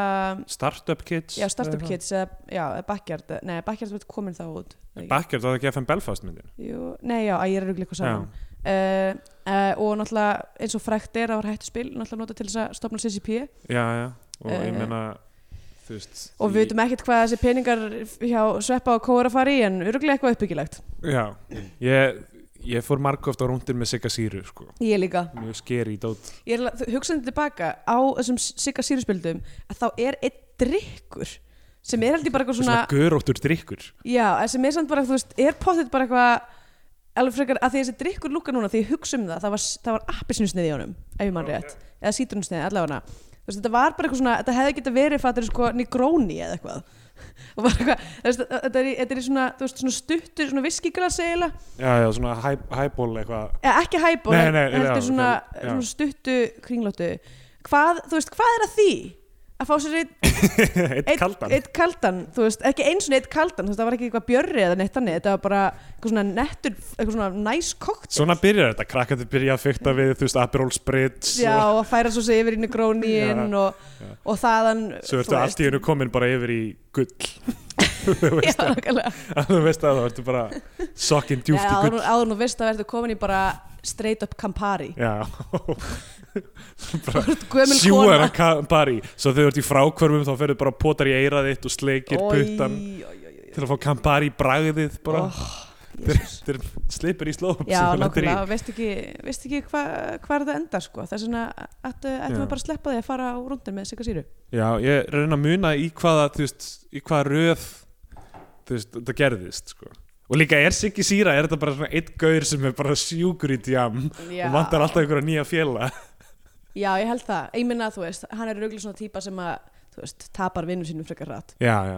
Speaker 4: Startup Kids
Speaker 3: já, Startup
Speaker 4: eða eitthvað.
Speaker 3: Kids eða, já, eða Backyard, nei, Backyard var komin þá út eða ekki?
Speaker 4: Backyard, það er ekki FM Belfast myndin
Speaker 3: Jú, nei, já, að ég er að rugla eitthvað
Speaker 4: Já,
Speaker 3: saman uh, uh, og náttúrulega eins og frækt er að var hættu spil, náttúrulega nota til þess að stopna CCP
Speaker 4: já, já, og ég
Speaker 3: Eh,
Speaker 4: meina þú veist
Speaker 3: og við veitum ekkert hvað þessi peningar hjá Sveppa og Kóra fara í en öruglega eitthvað uppbyggilegt
Speaker 4: Já, ég, ég fór margóft á rúndir með Sigga Sýru sko.
Speaker 3: Ég líka.
Speaker 4: mjög skeri í dót
Speaker 3: Ég er að- hugsaði tilbaka á þessum Sigga Sýruspildum að þá er einn drikkur sem er heldur bara eitthvað
Speaker 4: svona
Speaker 3: svona
Speaker 4: göróttur drikkur
Speaker 3: Já, sem er samt bara, þú veist, er pottet bara eitthvað alveg frekar að því þessi drikkur lúka núna því ég hugsa um það, það var, það var appisnusnið í honum ef ég mann rétt, eða sítrunusnið allavega þú veist, þetta var bara eitthvað svona, þetta hefði geta verið fattur sko negróni eða eitthvað og bara eitthvað, þú veist, þetta er, í- þetta er í svona þú veist, svona stuttur, svona viskiglasi eiginlega,
Speaker 4: Já, já, svona hæ- hæból eitthvað
Speaker 3: eða Eh, ekki hæból,
Speaker 4: Nei, nei,
Speaker 3: þetta
Speaker 4: já,
Speaker 3: er svona,
Speaker 4: ok, já.
Speaker 3: svona stuttu kringlóttu hvað, þú veist, hvað er að því að fá sér einn
Speaker 4: Eitt kaldan
Speaker 3: eitt kaldan, þú veist, ekki eins og eitt kaldan, þú veist, það var ekki eitthvað björri eða neitt þannig, þetta var bara eitthvað svona nettur, eitthvað svona næs koktel
Speaker 4: Svona byrjar þetta, krakkandi byrja að fykta við þú veist, Aperol Spritz
Speaker 3: Já,
Speaker 4: og
Speaker 3: og færa svo sig yfir inn í grónin
Speaker 4: Já,
Speaker 3: og, og þaðan
Speaker 4: svo ertu allt í hennu komin bara yfir í gull
Speaker 3: Já, nákvæmlega.
Speaker 4: að þú veist að það ertu bara sokkin
Speaker 3: Já,
Speaker 4: djúft í
Speaker 3: áður
Speaker 4: gull
Speaker 3: nú- áður nú veist að verður komin í bara straight up Campari
Speaker 4: Já, bara
Speaker 3: Gömul
Speaker 4: sjúar
Speaker 3: kona
Speaker 4: að kampari svo þegar þú ert í frákvörfum þá ferðu bara potar í eirað þitt og sleikir
Speaker 3: Oj,
Speaker 4: puttan
Speaker 3: oj, oj, oj.
Speaker 4: til að fá kampari bragðið bara
Speaker 3: Oh, Jesus.
Speaker 4: þeir slipir í slóp
Speaker 3: Já,
Speaker 4: sem þú lendir í.
Speaker 3: nákvæmlega, veist ekki, veist ekki hva, hvað er það enda sko, þess vegna ættu
Speaker 4: Já.
Speaker 3: ættum við bara að sleppa því að fara á rúndin með Sigga Sýru
Speaker 4: Já, ég reyna að muna í hvaða þú veist, í hvaða röð þú veist, þetta gerðist sko. og líka er Siggi Sýra, er þetta bara svona eitt gaur sem er bara sjúkur í djam og vantar alltaf einhverja nýja fjöla
Speaker 3: Já, ég held það. Ég minna að þú veist, hann er rauglega svona típa sem að, þú veist, tapar vinnum sínum frekar rætt.
Speaker 4: Já, já,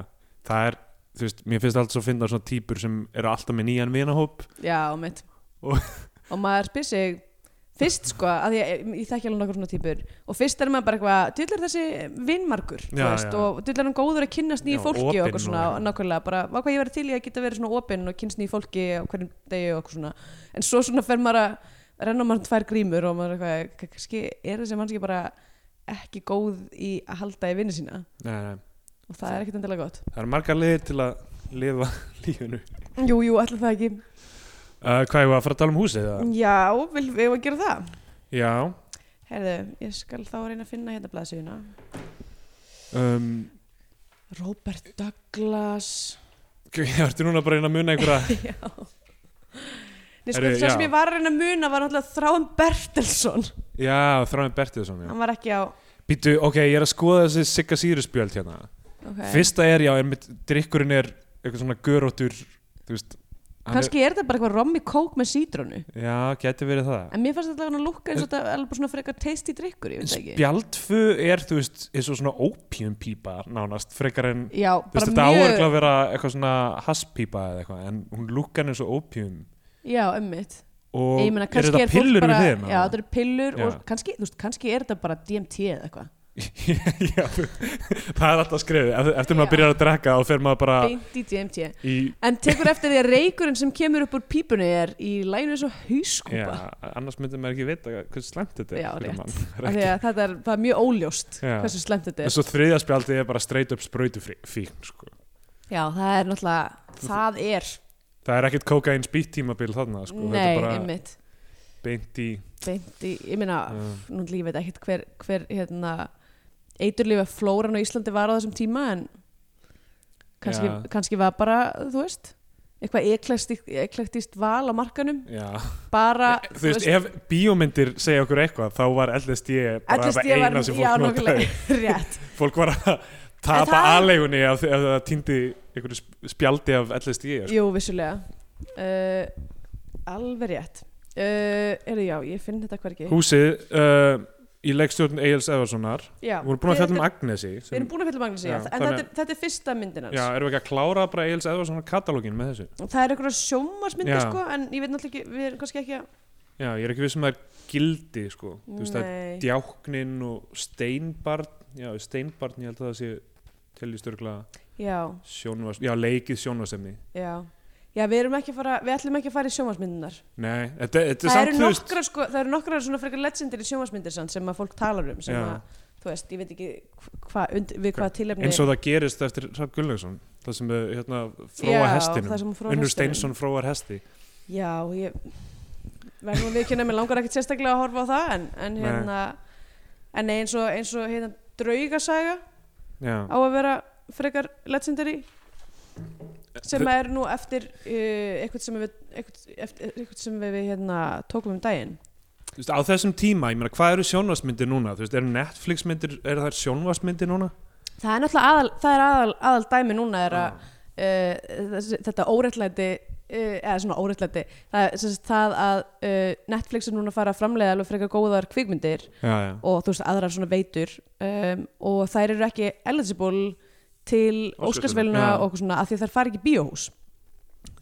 Speaker 4: það er þú veist, mér finnst alltaf svo að finna svona típur sem eru alltaf með nýjan vinahóp
Speaker 3: Já, og mitt.
Speaker 4: Og-
Speaker 3: Og, maður spyr sig, fyrst sko, að ég, ég, ég þekki alveg nokkur svona típur, og fyrst er maður bara eitthvað, dullar þessi vinnmargur, þú
Speaker 4: Já,
Speaker 3: veist,
Speaker 4: já.
Speaker 3: og dullar hann góður að kynnast
Speaker 4: Já,
Speaker 3: nýju fólki og
Speaker 4: opinn
Speaker 3: eitthvað svona,
Speaker 4: og-
Speaker 3: og nákvæmlega, bara, vá hvað ég verið til í að geta verið svona opinn og kynnast nýju fólki á hverjum degi og eitthvað svona. En svo svona fer maður að, renna maður tvær grímur og maður er eitthvað, kannski er þessi mannski bara ekki góð í að halda í vinnu sína
Speaker 4: Nei, nei,
Speaker 3: og það er ekkert endilega gott.
Speaker 4: Eh, það eru margar leiðir til að lifa lífinu
Speaker 3: Jú, jú, allir það ekki.
Speaker 4: uh, Hvað ég var að fara að tala um húsið það?
Speaker 3: Já, vil við eigum að gera það?
Speaker 4: Já
Speaker 3: Herðu, ég skal þá reyna að finna hérna blaðsíðuna.
Speaker 4: um,
Speaker 3: Robert Douglas.
Speaker 4: Ég ertu núna bara að reyna að muna einhverja
Speaker 3: já. Nei, sko,
Speaker 4: Herðu,
Speaker 3: það sem
Speaker 4: já.
Speaker 3: ég var að reyna að muna var náttúrulega Þráin Bertelsson.
Speaker 4: Já, Þráin Bertiðsson, já
Speaker 3: Hann var ekki á...
Speaker 4: Býtu, ok, ég er að skoða þessi Sigga Sýruspjöld hérna
Speaker 3: Okay.
Speaker 4: Fyrsta er, já, einmitt, drikkurinn er eitthvað svona göróttur Þú veist hann
Speaker 3: Kanski er þetta bara eitthvað rommi kók með sítrónu.
Speaker 4: er, Já, geti verið það
Speaker 3: En mér fannst þetta alveg að lukka eins og þetta er alveg bara svona frekar tasty drikkur, ég veit það ekki.
Speaker 4: Spjaldfu er, þú veist, eins og svona ópíumpípa nánast Frekar en,
Speaker 3: Já,
Speaker 4: þú veist,
Speaker 3: bara
Speaker 4: þetta ávergla
Speaker 3: mjög...
Speaker 4: að vera eitthvað svona haspípa eða eitthvað En hún lúkkar eins og ópíum
Speaker 3: Já, ömmit.
Speaker 4: Og
Speaker 3: Ég meina,
Speaker 4: er
Speaker 3: kannski
Speaker 4: þetta
Speaker 3: fólk
Speaker 4: pillur
Speaker 3: bara...
Speaker 4: við þeim?
Speaker 3: Já, þetta eru pillur
Speaker 4: Já.
Speaker 3: og kannski, þú veist, kannski er þetta bara DMT eða eitthvað.
Speaker 4: Já, það er alltaf skrifið Ef- eftir maður
Speaker 3: Já.
Speaker 4: byrjar að drekka og fer maður bara
Speaker 3: beint í DMT
Speaker 4: í
Speaker 3: en tekur eftir því að reykurinn sem kemur upp úr pípunni er í lænu eins og
Speaker 4: já,
Speaker 3: hauskúpa
Speaker 4: annars myndi maður ekki vita hversu slæmt þetta er
Speaker 3: Já,
Speaker 4: fyrir
Speaker 3: rétt.
Speaker 4: mann.
Speaker 3: af því að þetta er, það er mjög óljóst
Speaker 4: Já.
Speaker 3: hversu slemt þetta
Speaker 4: en
Speaker 3: er
Speaker 4: svo þriðja spjaldi er bara straight up sprautufíkn sko.
Speaker 3: já, það er náttúrulega, það er
Speaker 4: það er ekkert kókain spýtt tímabil þarna sko. þetta
Speaker 3: nei,
Speaker 4: er bara
Speaker 3: einmitt
Speaker 4: beint í
Speaker 3: beint í, ég meina,
Speaker 4: Já.
Speaker 3: nú lífið veit ekkert hver, hver hérna, eiturlífa flóran á Íslandi var á þessum tíma en kannski,
Speaker 4: Já.
Speaker 3: kannski var bara, þú veist eitthvað eklektist, eklektist val á markanum
Speaker 4: já.
Speaker 3: bara,
Speaker 4: þú veist, ef bíómyndir segja okkur eitthvað þá var LSD bara
Speaker 3: ellist
Speaker 4: það
Speaker 3: ég var
Speaker 4: eina sem fólk notaði
Speaker 3: rétt
Speaker 4: fólk var að tapa það...
Speaker 3: það-
Speaker 4: aðlegunni ef, ef það týndi einhverju sp- spjaldi af LSD sko.
Speaker 3: Jú, vissulega uh, Alveg rétt uh, Eru já, ég finn þetta hvergi
Speaker 4: húsið uh, í leikstjórn Egil's Eversonar
Speaker 3: já,
Speaker 4: Við vorum búin að fjalla um
Speaker 3: Við
Speaker 4: Agnesi
Speaker 3: við erum búin að fjalla um Agnesi, já,
Speaker 4: Já,
Speaker 3: en
Speaker 4: þannig-
Speaker 3: þetta, er- þetta er fyrsta myndin hans
Speaker 4: Já, erum við ekki að klára bara Egil's Edvarsson katalógin með þessu?
Speaker 3: Það er einhverja sjómasmyndi,
Speaker 4: Já.
Speaker 3: sko En ég veit náttúrulega ekki, við erum kannski ekki að
Speaker 4: Já, ég er ekki viss um að það er gildi sko. Þú veist, það er
Speaker 3: Nei.
Speaker 4: djáknin og steinbarn Já, steinbarn, ég held að það sé teljist örgla
Speaker 3: Já,
Speaker 4: sjónvars Já, leikið sjónvarsemni
Speaker 3: já Já, við erum ekki að fara, við ætlum ekki að fara í sjómasmyndinar
Speaker 4: Nei, þetta, þetta er
Speaker 3: Það eru
Speaker 4: samt þú veist-
Speaker 3: nokkrar, sko, það eru nokkrar svona frekar legendir í sjómasmyndir samt sem að fólk talar um sem
Speaker 4: Já.
Speaker 3: að, þú veist, ég veit ekki hva, und, við hvaða tilefni
Speaker 4: eins og það gerist eftir Hrafn Gullaugsson það sem er hérna fróa
Speaker 3: Já, það sem hún
Speaker 4: hestinum
Speaker 3: fróar
Speaker 4: Unnur
Speaker 3: hestinum.
Speaker 4: Steinsson fróar hesti
Speaker 3: Já, ég verður nú að viðkynna mér langar ekkert sérstaklega að horfa á það en, en
Speaker 4: Nei.
Speaker 3: hérna en nei, eins og, eins og hérna draugasaga
Speaker 4: Já,
Speaker 3: á að vera frekar legendary sem
Speaker 4: Þe-
Speaker 3: er nú eftir uh, eitthvað sem við eitthvað, eftir, eitthvað sem við hérna tókum um daginn
Speaker 4: Þú veist, á þessum tíma, ég meina, hvað eru sjónvarsmyndir núna? Þú veist, eru Netflix myndir, eru það sjónvarsmyndir núna?
Speaker 3: það er náttúrulega aðal, það er aðal, aðal dæmi núna er að uh, þessi- þetta óréttlæti uh, eða svona óréttlæti það, er sem sagt það að uh, Netflix er núna að fara að framleiða alveg frekar góðar kvikmyndir
Speaker 4: Já, já.
Speaker 3: og þú veist aðrar svona veitur um, og þær eru ekki eligible til
Speaker 4: Óskarsverðlauna,
Speaker 3: Óskarsveluna
Speaker 4: já.
Speaker 3: og eitthvað svona af því að þær fara ekki í bíóhús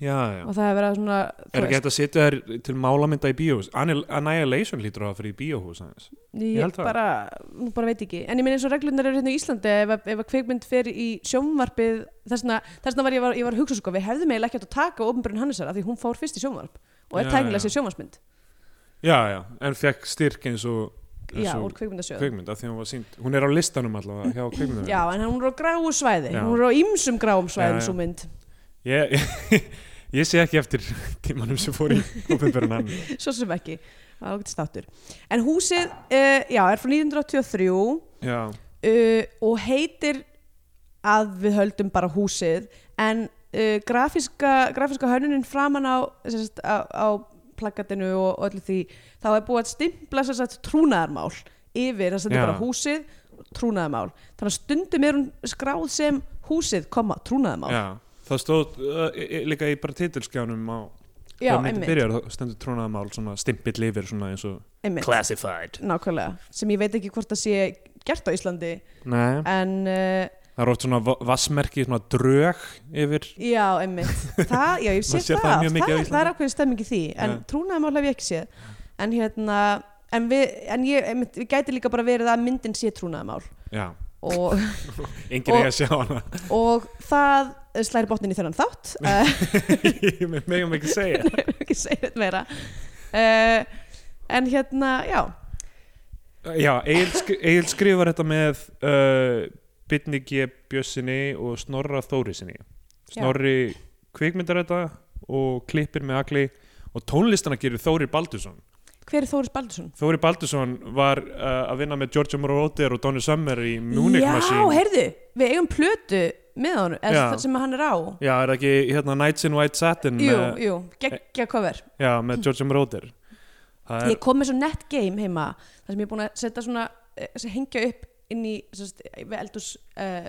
Speaker 4: já, já.
Speaker 3: og það hefur verið svona þú
Speaker 4: Er
Speaker 3: veist,
Speaker 4: ekki hægt að setja þær til málamynda í bíóhús? Annihil- Annihilation lítur á það fyrir í bíóhús aðeins.
Speaker 3: ég,
Speaker 4: Ég held það.
Speaker 3: bara, nú bara veit ekki en ég minn eins og reglunar eru hérna í Íslandi ef, að- ef að kveikmynd fer í sjónvarpið þessna, þessna var ég var, ég var að hugsa sko við hefðum eiginlega ekki átt að taka ofnbrunn Hannesar af því hún fór fyrst í sjónvarp og er
Speaker 4: Já,
Speaker 3: tæknilega
Speaker 4: já.
Speaker 3: sér sjónvarsmynd
Speaker 4: Já, já, en fekk styrk eins og, eins
Speaker 3: já,
Speaker 4: og
Speaker 3: úr kveikmyndasjóð
Speaker 4: kveikmynd, af því hún var sínd. Hún er á listanum allavega hjá kveikmyndum.
Speaker 3: já, en hún er á gráu svæði
Speaker 4: Já.
Speaker 3: hún er á ýmsum gráum
Speaker 4: Já,
Speaker 3: svæðum
Speaker 4: já.
Speaker 3: svo mynd
Speaker 4: Ég, ég, ég sé ekki eftir tímanum sem fór í ofinberðan hann.
Speaker 3: svo sem ekki það var ágætt státtur en húsið, uh, já, er frá 1983
Speaker 4: Já,
Speaker 3: uh, og heitir að við höldum bara húsið en uh, grafíska, grafíska hönnunin framan á, sem sagt, á, á plakatinu og, og öllu því þá er búið að stimpla sem sagt, trúnaðarmál yfir, það stendur
Speaker 4: Já.
Speaker 3: bara húsið trúnaðarmál, þannig að stundum er hún skráð sem húsið, koma, trúnaðarmál
Speaker 4: já. Það stóð uh, í- í- líka í bara titilskjánum á
Speaker 3: já
Speaker 4: þegar myndin
Speaker 3: einmitt,
Speaker 4: byrjar, þá stendur trónaðamál svona stimpill yfir svona eins og
Speaker 3: einmitt,
Speaker 4: Classified
Speaker 3: nákvæmlega sem ég veit ekki hvort það sé gert á Íslandi
Speaker 4: Nei,
Speaker 3: en uh,
Speaker 4: það er oft svona va- vassmerki, svona drög yfir
Speaker 3: Já, einmitt það, Já, ég sé
Speaker 4: Maður sér
Speaker 3: það,
Speaker 4: það
Speaker 3: það,
Speaker 4: mjög mikið á
Speaker 3: það,
Speaker 4: Íslandi.
Speaker 3: er ákveðin stemming í því En
Speaker 4: Já.
Speaker 3: trúnaðamál hef ég ekki séð En hérna En, við, en ég, einmitt, við gæti líka bara verið að myndin sé trúnaðamál
Speaker 4: Já,
Speaker 3: og,
Speaker 4: enginn
Speaker 3: Og-
Speaker 4: eiga að sjá hana
Speaker 3: og það slæri botnin í þennan þátt uh,
Speaker 4: Við megum ekki segja
Speaker 3: ekki segja þetta meira uh, en hérna, já
Speaker 4: Já, Egil sk- Egil skrifar þetta með uh, Bitni G. Bjössinni og Snorra Þórisinni
Speaker 3: Já.
Speaker 4: Snorri kvikmyndar þetta og klippir með Agli og tónlistana gerir Þóri Baldursson
Speaker 3: hver er Þóris Baldursson?
Speaker 4: Þóri Baldursson var uh, að vinna með Giorgio Moroder og Donny Summer í Munich
Speaker 3: já,
Speaker 4: Machine
Speaker 3: heyrðu, við eigum plötu með honum, eða
Speaker 4: Já.
Speaker 3: það sem hann er á
Speaker 4: Já, er það ekki hérna Nights in White Satin
Speaker 3: jú,
Speaker 4: með,
Speaker 3: jú, geggja cover
Speaker 4: Já, með George M. Roder Það er,
Speaker 3: Ég kom með svo net game heima þar sem ég er búin að setja svona eh, sem hengja upp inn í sest, við eldus uh,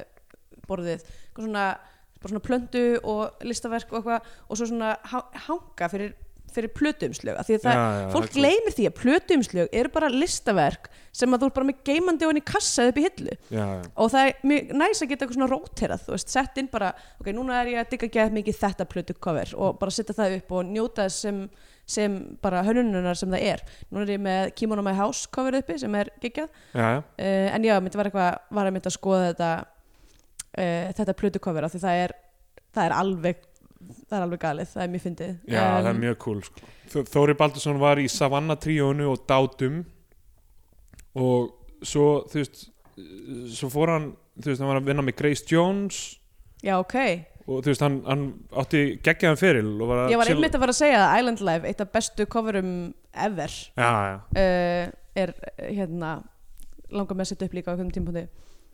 Speaker 3: borðið eitthvað svona, bara svona plöndu og listaverk og eitthvað og svo svona há- hanga fyrir, fyrir plötuumslög af því að það,
Speaker 4: Já, já,
Speaker 3: fólk
Speaker 4: það er cool.
Speaker 3: gleymir því að plötuumslög eru bara listaverk sem að þú ert bara með geimandi og henni kassað upp í hillu
Speaker 4: já, já,
Speaker 3: og það er mjög næs að geta eitthvað svona róterað þú veist, sett inn bara, ok, núna er ég að digga gæð mikið þetta plötu cover og bara setja það upp og njóta þess sem sem bara hönnununar sem það er núna er ég með Kimono My House cover uppi sem er geggjað
Speaker 4: já, já,
Speaker 3: uh, en já, myndi var eitthvað var að myndi að skoða þetta uh, þetta plötukofir af því það er það er alveg það er alveg galið, það er mjög fyndið
Speaker 4: já það er mjög cool sko. Þó- Þóri Baldursson var í Savanna tríónu og Dátum og svo þú veist svo fór hann, þú veist, hann var að vinna með Grace Jones
Speaker 3: já, ok,
Speaker 4: og þú veist, hann, hann átti geggjaðan feril og var að
Speaker 3: ég var
Speaker 4: chill-
Speaker 3: einmitt að fara að segja að Island Life, eitt af bestu coverum ever
Speaker 4: já, já,
Speaker 3: uh, er hérna langar með að setja upp líka á einhvern tímpúndi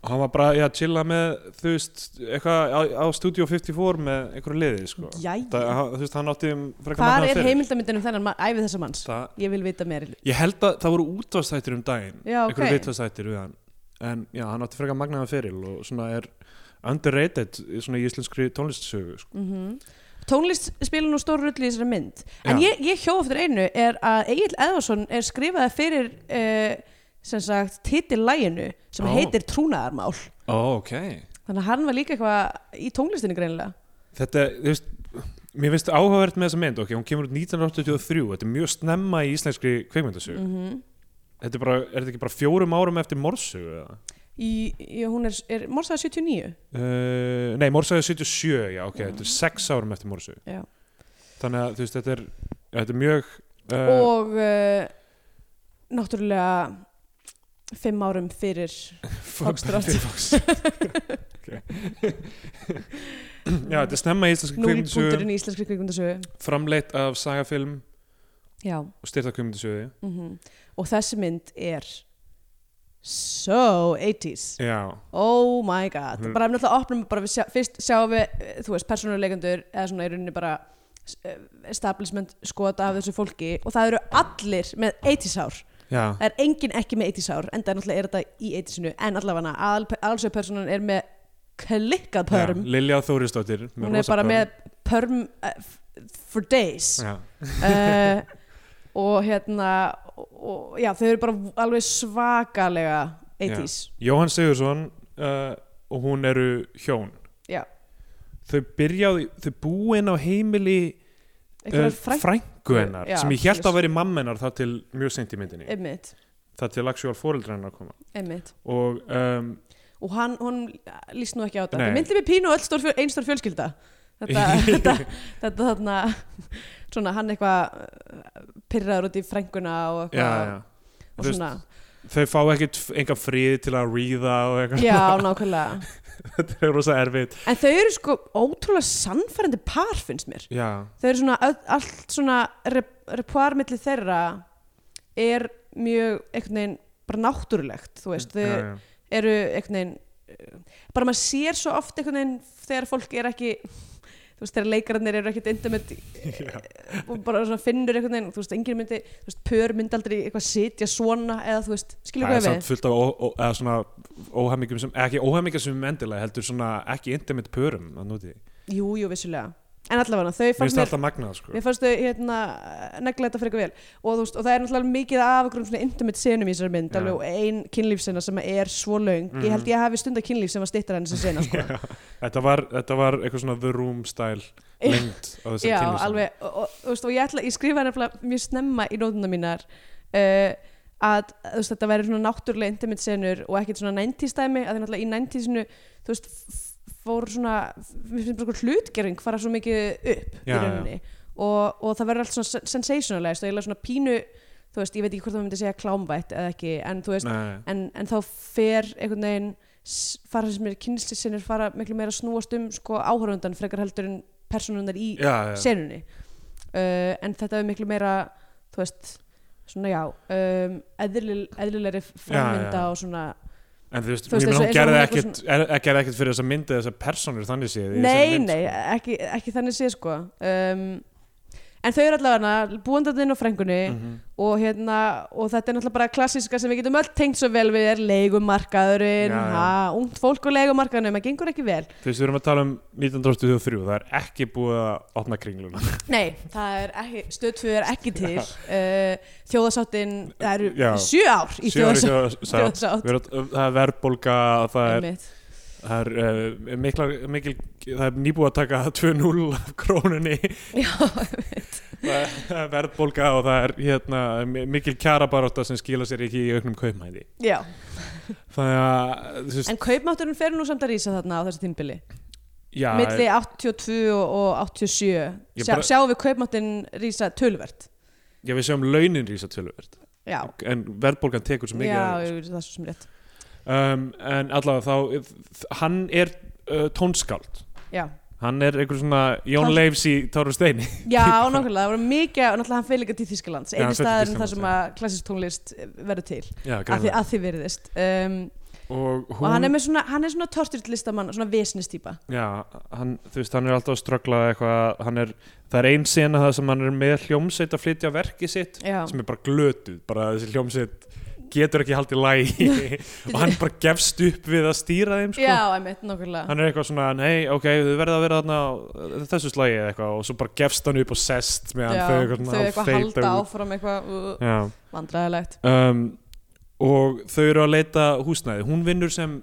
Speaker 4: hann var bara já, að chilla með þú veist, eitthvað á, á Studio 54 með einhverju liði sko. það,
Speaker 3: Jæja,
Speaker 4: hann, þú veist, hann átti um frekar
Speaker 3: hvar
Speaker 4: magnaðan
Speaker 3: er
Speaker 4: feril.
Speaker 3: heimildamindin um þennan mann, æfið þessa manns?
Speaker 4: Það-
Speaker 3: Ég vil vita meir
Speaker 4: ég held að það voru útvarstættir um daginn
Speaker 3: Já, ok.
Speaker 4: einhverju vitvarstættir við hann en já, hann átti frekar magnaðan feril og svona er underrated í svona í íslenskri tónlistsögu sko.
Speaker 3: mm Tónlist spila nú stór rull í þessari mynd En
Speaker 4: Já.
Speaker 3: ég, ég hjóð eftir einu er að Egil Eðvarsson er skrifaði fyrir uh, sem sagt titillæginu sem
Speaker 4: Ó.
Speaker 3: heitir Trúnaðarmál
Speaker 4: oh, ok
Speaker 3: Þannig að hann var líka eitthvað í tónlistinni greinilega
Speaker 4: þetta, þú veist Mér finnst áhugavert með þessa mynd, ok, hún kemur út 1983, þetta er mjög snemma í íslenskri kveikmyndasögu.
Speaker 3: mm
Speaker 4: Þetta er bara, er þetta ekki bara fjórum árum eftir morsögu eða?
Speaker 3: í, í, Hún er, er morsaði 79
Speaker 4: Uh, nei, Mórsæði 77, já, ok, þetta er sex árum eftir Mórsæði
Speaker 3: Mm. Já.
Speaker 4: Þannig að, þú veist, þetta er, þetta er mjög uh,
Speaker 3: og uh, náttúrulega fimm árum fyrir Foxtrot.
Speaker 4: Fox. okay. Já, þetta er snemma í íslenski kvikmyndasögu,
Speaker 3: núlbúndurinn í íslenskri kvikmyndasögu
Speaker 4: framleitt af sagafilm
Speaker 3: Já
Speaker 4: og styrta kvikmyndasögu
Speaker 3: mhm. Og þessi mynd er so 80s
Speaker 4: Já,
Speaker 3: oh my god
Speaker 4: Hún-
Speaker 3: bara ef náttúrulega opnum við bara við sjá, fyrst sjáum við eh, þú veist persónuleikendur eða svona í rauninni bara eh, establishment skota af þessu fólki og það eru allir með 80s ár
Speaker 4: já,
Speaker 3: það er enginn ekki með 80s ár en það er náttúrulega er þetta í 80sinu en allavega alls að persónan er með klikkað
Speaker 4: já
Speaker 3: pörm
Speaker 4: Lilja Þórisdóttir með
Speaker 3: hún er
Speaker 4: rosa
Speaker 3: bara
Speaker 4: pörm.
Speaker 3: með pörm eh, f- for days
Speaker 4: Já,
Speaker 3: uh, og hérna og, já, þau eru bara alveg svakalega 80s
Speaker 4: Jóhann Sigursson uh, og hún eru hjón
Speaker 3: Já.
Speaker 4: Þau byrjaði, þau búin á heimili Eh,
Speaker 3: Einhverjar frænk-
Speaker 4: frængu hennar
Speaker 3: Já,
Speaker 4: sem ég held
Speaker 3: svoleiðis.
Speaker 4: að veri mamma hennar þar til mjög seint í myndinni
Speaker 3: einmitt,
Speaker 4: þar til lagsjól fóreldra hennar koma
Speaker 3: einmitt
Speaker 4: og um,
Speaker 3: og hann, hún líst nú ekki á þetta
Speaker 4: Nei.
Speaker 3: það myndi mig pínu og öll stór fjö, ein stór fjölskylda þetta, þetta, þetta þarna svona hann eitthvað uh, pirraður út í frænguna og
Speaker 4: já,
Speaker 3: eitthvað
Speaker 4: já.
Speaker 3: og
Speaker 4: Þú
Speaker 3: svona,
Speaker 4: þau fá ekkert enga frið til að ríða og eitthvað,
Speaker 3: já, nákvæmlega
Speaker 4: þetta er rosa erfitt
Speaker 3: en þau eru sko ótrúlega sannfærandi par finnst mér,
Speaker 4: já,
Speaker 3: þau eru svona öll- allt svona repuar milli þeirra er mjög einhvern veginn bara náttúrulegt þú veist,
Speaker 4: Mm, já,
Speaker 3: þau
Speaker 4: já.
Speaker 3: eru einhvern veginn uh, bara maður sér svo oft einhvern veginn þegar fólk er ekki þú veist, þegar leikararnir eru ekkert intimate eh,
Speaker 4: Já.
Speaker 3: og bara svona finnur einhvern veginn þú veist, enginn myndi, þú veist, pör myndi aldrei eitthvað sitja svona eða þú veist, skilur
Speaker 4: það er
Speaker 3: hvað
Speaker 4: samt
Speaker 3: við
Speaker 4: fullt af ó, ó, eða svona óhæmingum sem, ekki óhæmingum sem endilega heldur svona ekki intimate pörum að núti,
Speaker 3: jú, jú, vissulega, en allavega þau
Speaker 4: mér finnst
Speaker 3: fannst
Speaker 4: það
Speaker 3: mér,
Speaker 4: alltaf magnað sko.
Speaker 3: mér fannst þau hérna, negla þetta frekar vel og, þú veist, og það er náttúrulega mikið af okkur svona intimate senum í þessari mynd,
Speaker 4: Já. Mhm.
Speaker 3: alveg og ein kynlífsena sem er svo löng, ég held ég hafi stundar kynlíf sem var stittar enn þessi sena, sko
Speaker 4: Já, þetta var, þetta var eitthvað svona the room style
Speaker 3: Já.
Speaker 4: lengd á þessari
Speaker 3: Já,
Speaker 4: kynlífssaga.
Speaker 3: alveg, og, og, og, veist, og ég, ætla, ég skrifa nefnilega mjög snemma í nótuna mínar uh, að þú veist, þetta væri svona náttúrulega intimate senur og ekkert svona 90s dæmi að það náttúrulega í 90sinu þú veist, f- fór svona mér finnst bara svona hlutgerðing fara svo mikið upp í
Speaker 4: Já, já.
Speaker 3: rauninni og, og það verður allt svona sen- sensationalized og ég svona pínu, þú veist, ég veit ekki hvort það myndi segja klámvætt eða ekki, en þú veist
Speaker 4: Nei,
Speaker 3: en, en þá fer einhvern veginn s- fara sem er kynlislisinir fara miklu meira að snúast um sko áhörfundan frekar heldur en persónunar í
Speaker 4: já, já.
Speaker 3: senunni uh, en þetta er miklu meira þú veist, svona já um, eðlil, eðlilegri
Speaker 4: Já,
Speaker 3: framvinda
Speaker 4: já.
Speaker 3: og svona
Speaker 4: en þú veist,
Speaker 3: Þú veist,
Speaker 4: ég meina,
Speaker 3: eins
Speaker 4: hún
Speaker 3: og- eins og
Speaker 4: gerði
Speaker 3: hún er
Speaker 4: ekkit, er, er- gerði ekkit fyrir þess að mynda þessar personur þannig séð í þessari
Speaker 3: nei,
Speaker 4: mynd,
Speaker 3: nei,
Speaker 4: sko.
Speaker 3: ekki, ekki þannig sé sko um, en þau eru allavega búandarninn og frengunni
Speaker 4: Mhm.
Speaker 3: og hérna, og þetta er náttúrulega bara klassíska sem við getum öll tengt svo vel við er leigumarkaðurinn,
Speaker 4: Já, já.
Speaker 3: ha, ungt fólk og leigumarkaðurinn, maður gengur ekki vel
Speaker 4: Þú veist, við erum að tala um 1923 það er ekki búið að opna kringluna
Speaker 3: Nei, það er ekki, stöð 2 er ekki til uh, þjóðasáttinn, það eru
Speaker 4: Já.
Speaker 3: sjö ár í
Speaker 4: Sjö ár í
Speaker 3: þjóðasátt,
Speaker 4: þjóðarsátt.
Speaker 3: þjóðasátt.
Speaker 4: Við erum- það er verðbólga það er,
Speaker 3: einmitt.
Speaker 4: það er uh, mikla, mikil það er nýbúið að taka 2-0 af krónunni
Speaker 3: Já, einmitt.
Speaker 4: Það er verðbólga og það er hérna, mi- mikil kjarabaróta sem skila sér ekki í auknum kaupmæði
Speaker 3: Já,
Speaker 4: þannig að þú veist,
Speaker 3: en kaupmátturinn fer nú samt að rísa þarna á þessi tímbili
Speaker 4: já,
Speaker 3: milli 82 og 87
Speaker 4: Ég
Speaker 3: Sjá,
Speaker 4: bara-
Speaker 3: sjáum við kaupmáttinn rísa tölvert
Speaker 4: já, við sjáum launin rísa tölvöld
Speaker 3: Já,
Speaker 4: en verðbólgan tekur svo mikið
Speaker 3: já,
Speaker 4: af þessu.
Speaker 3: ég- það er svo sem rétt
Speaker 4: um, en allavega þá þ- hann er uh, tónskáld
Speaker 3: Já,
Speaker 4: hann er einhver svona Jón
Speaker 3: Tón-
Speaker 4: Leifs í Táru Steini
Speaker 3: já nákvæmlega, það voru mikið og náttúrulega hann fyrir líka til Þískalands
Speaker 4: Já, hann
Speaker 3: einu
Speaker 4: fer til
Speaker 3: staðurinn þar
Speaker 4: Þýskalands,
Speaker 3: sem að klassisk tónlist verður til
Speaker 4: já,
Speaker 3: að því,
Speaker 4: greinilega.
Speaker 3: að því veriðist um,
Speaker 4: og
Speaker 3: og hann er,
Speaker 4: hún,
Speaker 3: með svona, hann er svona torturlistamann svona vesnistýpa
Speaker 4: já, hann, þú veist, hann er alltaf að ströggla eitthvað, hann er, það er ein sena það sem hann er með hljómsveit að flytja verkið sitt
Speaker 3: Já,
Speaker 4: sem er bara glötuð, bara þessi hljómsveit getur ekki haldið lægi og hann bara gefst upp við að stýra þeim sko.
Speaker 3: já einmitt, nákvæmlega
Speaker 4: hann er eitthvað svona, nei, ok, þau verða að vera þarna á þessu slagi eða eitthvað og svo bara gefst hann upp og sest meðan
Speaker 3: já,
Speaker 4: þau eitthvað,
Speaker 3: þau
Speaker 4: svona
Speaker 3: eitthvað
Speaker 4: feita
Speaker 3: halda
Speaker 4: út.
Speaker 3: áfram eitthvað uh,
Speaker 4: Já.
Speaker 3: vandræðilegt
Speaker 4: um, og þau eru að leita húsnæði, hún vinnur sem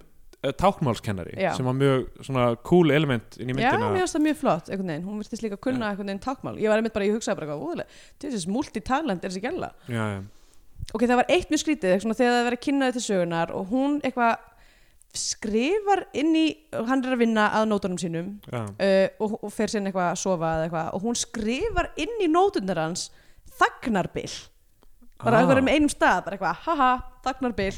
Speaker 4: eh, táknmálskennari
Speaker 3: Já.
Speaker 4: sem var mjög svona cool element inn í
Speaker 3: Já, mér
Speaker 4: myndina
Speaker 3: finnst það mjög flott, einhvern veginn, hún virtist líka kunna einhvern veginn tákmál, ég var einmitt bara, ég hugsaði bara eitthvað, úðlega, þessi multitalent er þessi gæla
Speaker 4: já, já.
Speaker 3: ok, það var eitt mjög skrítið svona, þegar það er verið að kynna þetta sögunar og hún eitthvað skrifar inn í hann er að vinna að nótunum sínum
Speaker 4: Já.
Speaker 3: uh, og, og fer sinni eitthvað að sofa eða eitthvað, og hún skrifar inn í nótunar hans þagnarbill bara
Speaker 4: Ah.
Speaker 3: ah. með einum stað, bara eitthvað haha, þagnarbill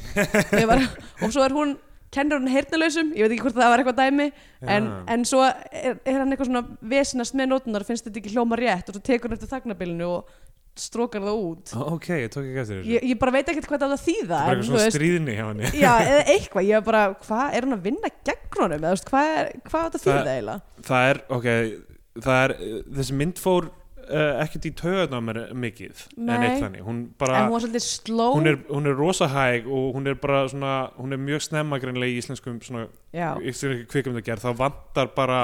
Speaker 3: Ég bara, og svo er hún, kennir hún heyrnalausum ég veit ekki hvort það var eitthvað dæmi en,
Speaker 4: Já.
Speaker 3: en svo er, er hann eitthvað svona vesinast með nótunar og finnst þetta ekki hljóma rétt og svo tekur hann eftir þagnarbillinu og strókar það út
Speaker 4: ok, ég tók ekki eftir þessu
Speaker 3: ég, ég bara veit ekkert hvað það átt að þýða
Speaker 4: bara
Speaker 3: en,
Speaker 4: eitthvað
Speaker 3: þú
Speaker 4: svona stríðni hjá henni
Speaker 3: já, eða eitthvað, ég var bara hvað er hún að vinna gegn honum eða þú veist, hvað, er, hvað átt að þýða
Speaker 4: Það-
Speaker 3: eiginlega
Speaker 4: það er, ok það er, þessi mynd fór uh, ekkert í töðan á mér mikið
Speaker 3: Nei.
Speaker 4: en eitt þannig, hún bara
Speaker 3: en hún var svolítið sló
Speaker 4: hún er, hún er rosa hæg og hún er bara svona, hún er mjög snemma greinlega í íslenskum svona,
Speaker 3: já,
Speaker 4: íslenskum kvikum það gerð, þá vantar bara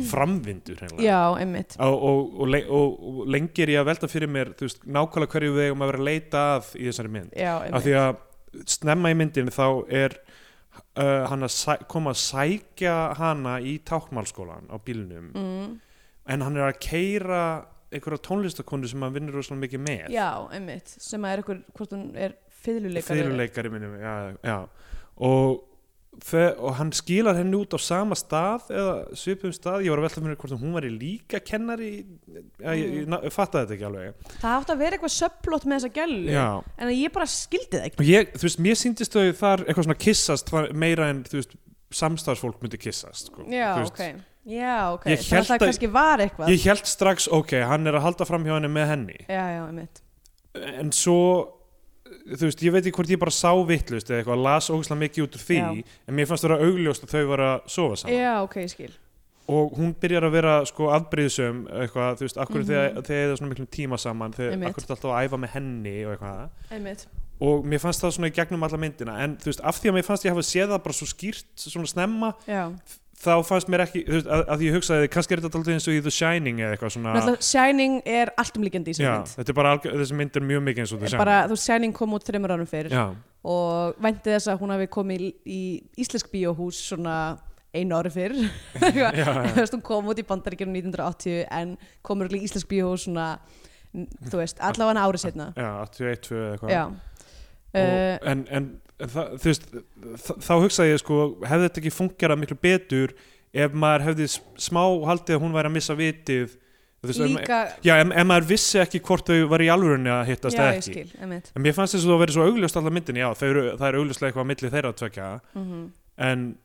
Speaker 4: framvindur hreinlega
Speaker 3: já, einmitt
Speaker 4: og, og, og, le- og, og lengir ég að velta fyrir mér þú veist, nákvæmlega hverju við eigum að vera að leita að í þessari mynd,
Speaker 3: já,
Speaker 4: af
Speaker 3: einmitt,
Speaker 4: því að snemma í myndinni þá er uh, hann að sæ- koma að sækja hana í tákmálskólan á bílnum
Speaker 3: mm,
Speaker 4: en hann er að keira einhverja tónlistakonu sem hann vinnur rosalega mikið með
Speaker 3: já, einmitt sem að er ykkur, hvort hún er fiðluleikari
Speaker 4: fyrirleikari minnum já, já. Og, þe- og hann skilar henni út á sama stað eða svipum stað, ég var að velta fyrir mér hvort hún var í líka kennari ja, ég,
Speaker 3: Mm.
Speaker 4: ég, ég fatta þetta ekki alveg
Speaker 3: það átt að vera eitthvað söplót með þessa gælu
Speaker 4: já.
Speaker 3: en ég bara skildi það ekki
Speaker 4: og ég, þú veist, mér síndist þau þar eitthvað svona kissast þar- meira en þú veist, samstarfsfólk myndi kissast sko.
Speaker 3: já,
Speaker 4: Þú
Speaker 3: ok, já, ok
Speaker 4: Ég hélt
Speaker 3: þannig að það
Speaker 4: að-
Speaker 3: kannski var eitthvað
Speaker 4: ég held strax, ok, hann er að halda fram hjá henni með henni
Speaker 3: já, já, einmitt
Speaker 4: en svo þú veist, ég veit ekki hvort ég bara sá vittlust eða eitthvað, las ógislega mikið út úr því
Speaker 3: Já.
Speaker 4: en mér fannst það vera augljóst að þau var að sofa saman
Speaker 3: já, ok, ég skil
Speaker 4: og hún byrjar að vera sko afbrýðsum eitthvað, þú veist, akkur mm -hmm. þegar þegar það er svona miklum tíma saman, þegar
Speaker 3: Mhm. Einmitt.
Speaker 4: akkur er alltaf að æfa með henni og eitthvað,
Speaker 3: einmitt,
Speaker 4: og mér fannst það svona í gegnum alla myndina, en þú veist, af því að mér fannst ég hafa séð það bara svo skýrt, svona snemma
Speaker 3: já
Speaker 4: þá fannst mér ekki, þú veist, að, að ég hugsaði kannski er þetta alltaf eins og í The Shining eða eitthvað svona,
Speaker 3: Náttúrulega Shining er alltumlíkjandi í sem
Speaker 4: já,
Speaker 3: mynd
Speaker 4: þetta er bara algjör, þessi mynd er mjög mikið eins og The Shining
Speaker 3: bara, þú veist, Shining kom út þreymur árum fyrir
Speaker 4: já,
Speaker 3: og vænti þess að hún hafi komið í, í íslensk bíóhús svona einu ári fyrr Eitthvað. þú veist, hún kom út í bandaríkjörnum 1980 en komur í íslensk bíóhús svona, n- þú veist, allavega ári setna
Speaker 4: já, 81, 2 eða eitthvað
Speaker 3: já
Speaker 4: og,
Speaker 3: uh,
Speaker 4: en, en, en það, þú veist þ- þá hugsaði ég sko, hefði þetta ekki fungerað miklu betur ef maður hefði s- smá haldið að hún væri að missa vitið þú veist, ef ma-
Speaker 3: líka,
Speaker 4: já, ef, ef maður vissi ekki hvort þau var í alvörunni að hittast
Speaker 3: já,
Speaker 4: eða
Speaker 3: ég
Speaker 4: ekki
Speaker 3: skil einmitt.
Speaker 4: en mér fannst þess að það verið svo augljóst allar myndin já, þau eru, það er augljóslega eitthvað að milli þeirra tvekja
Speaker 3: Mm
Speaker 4: en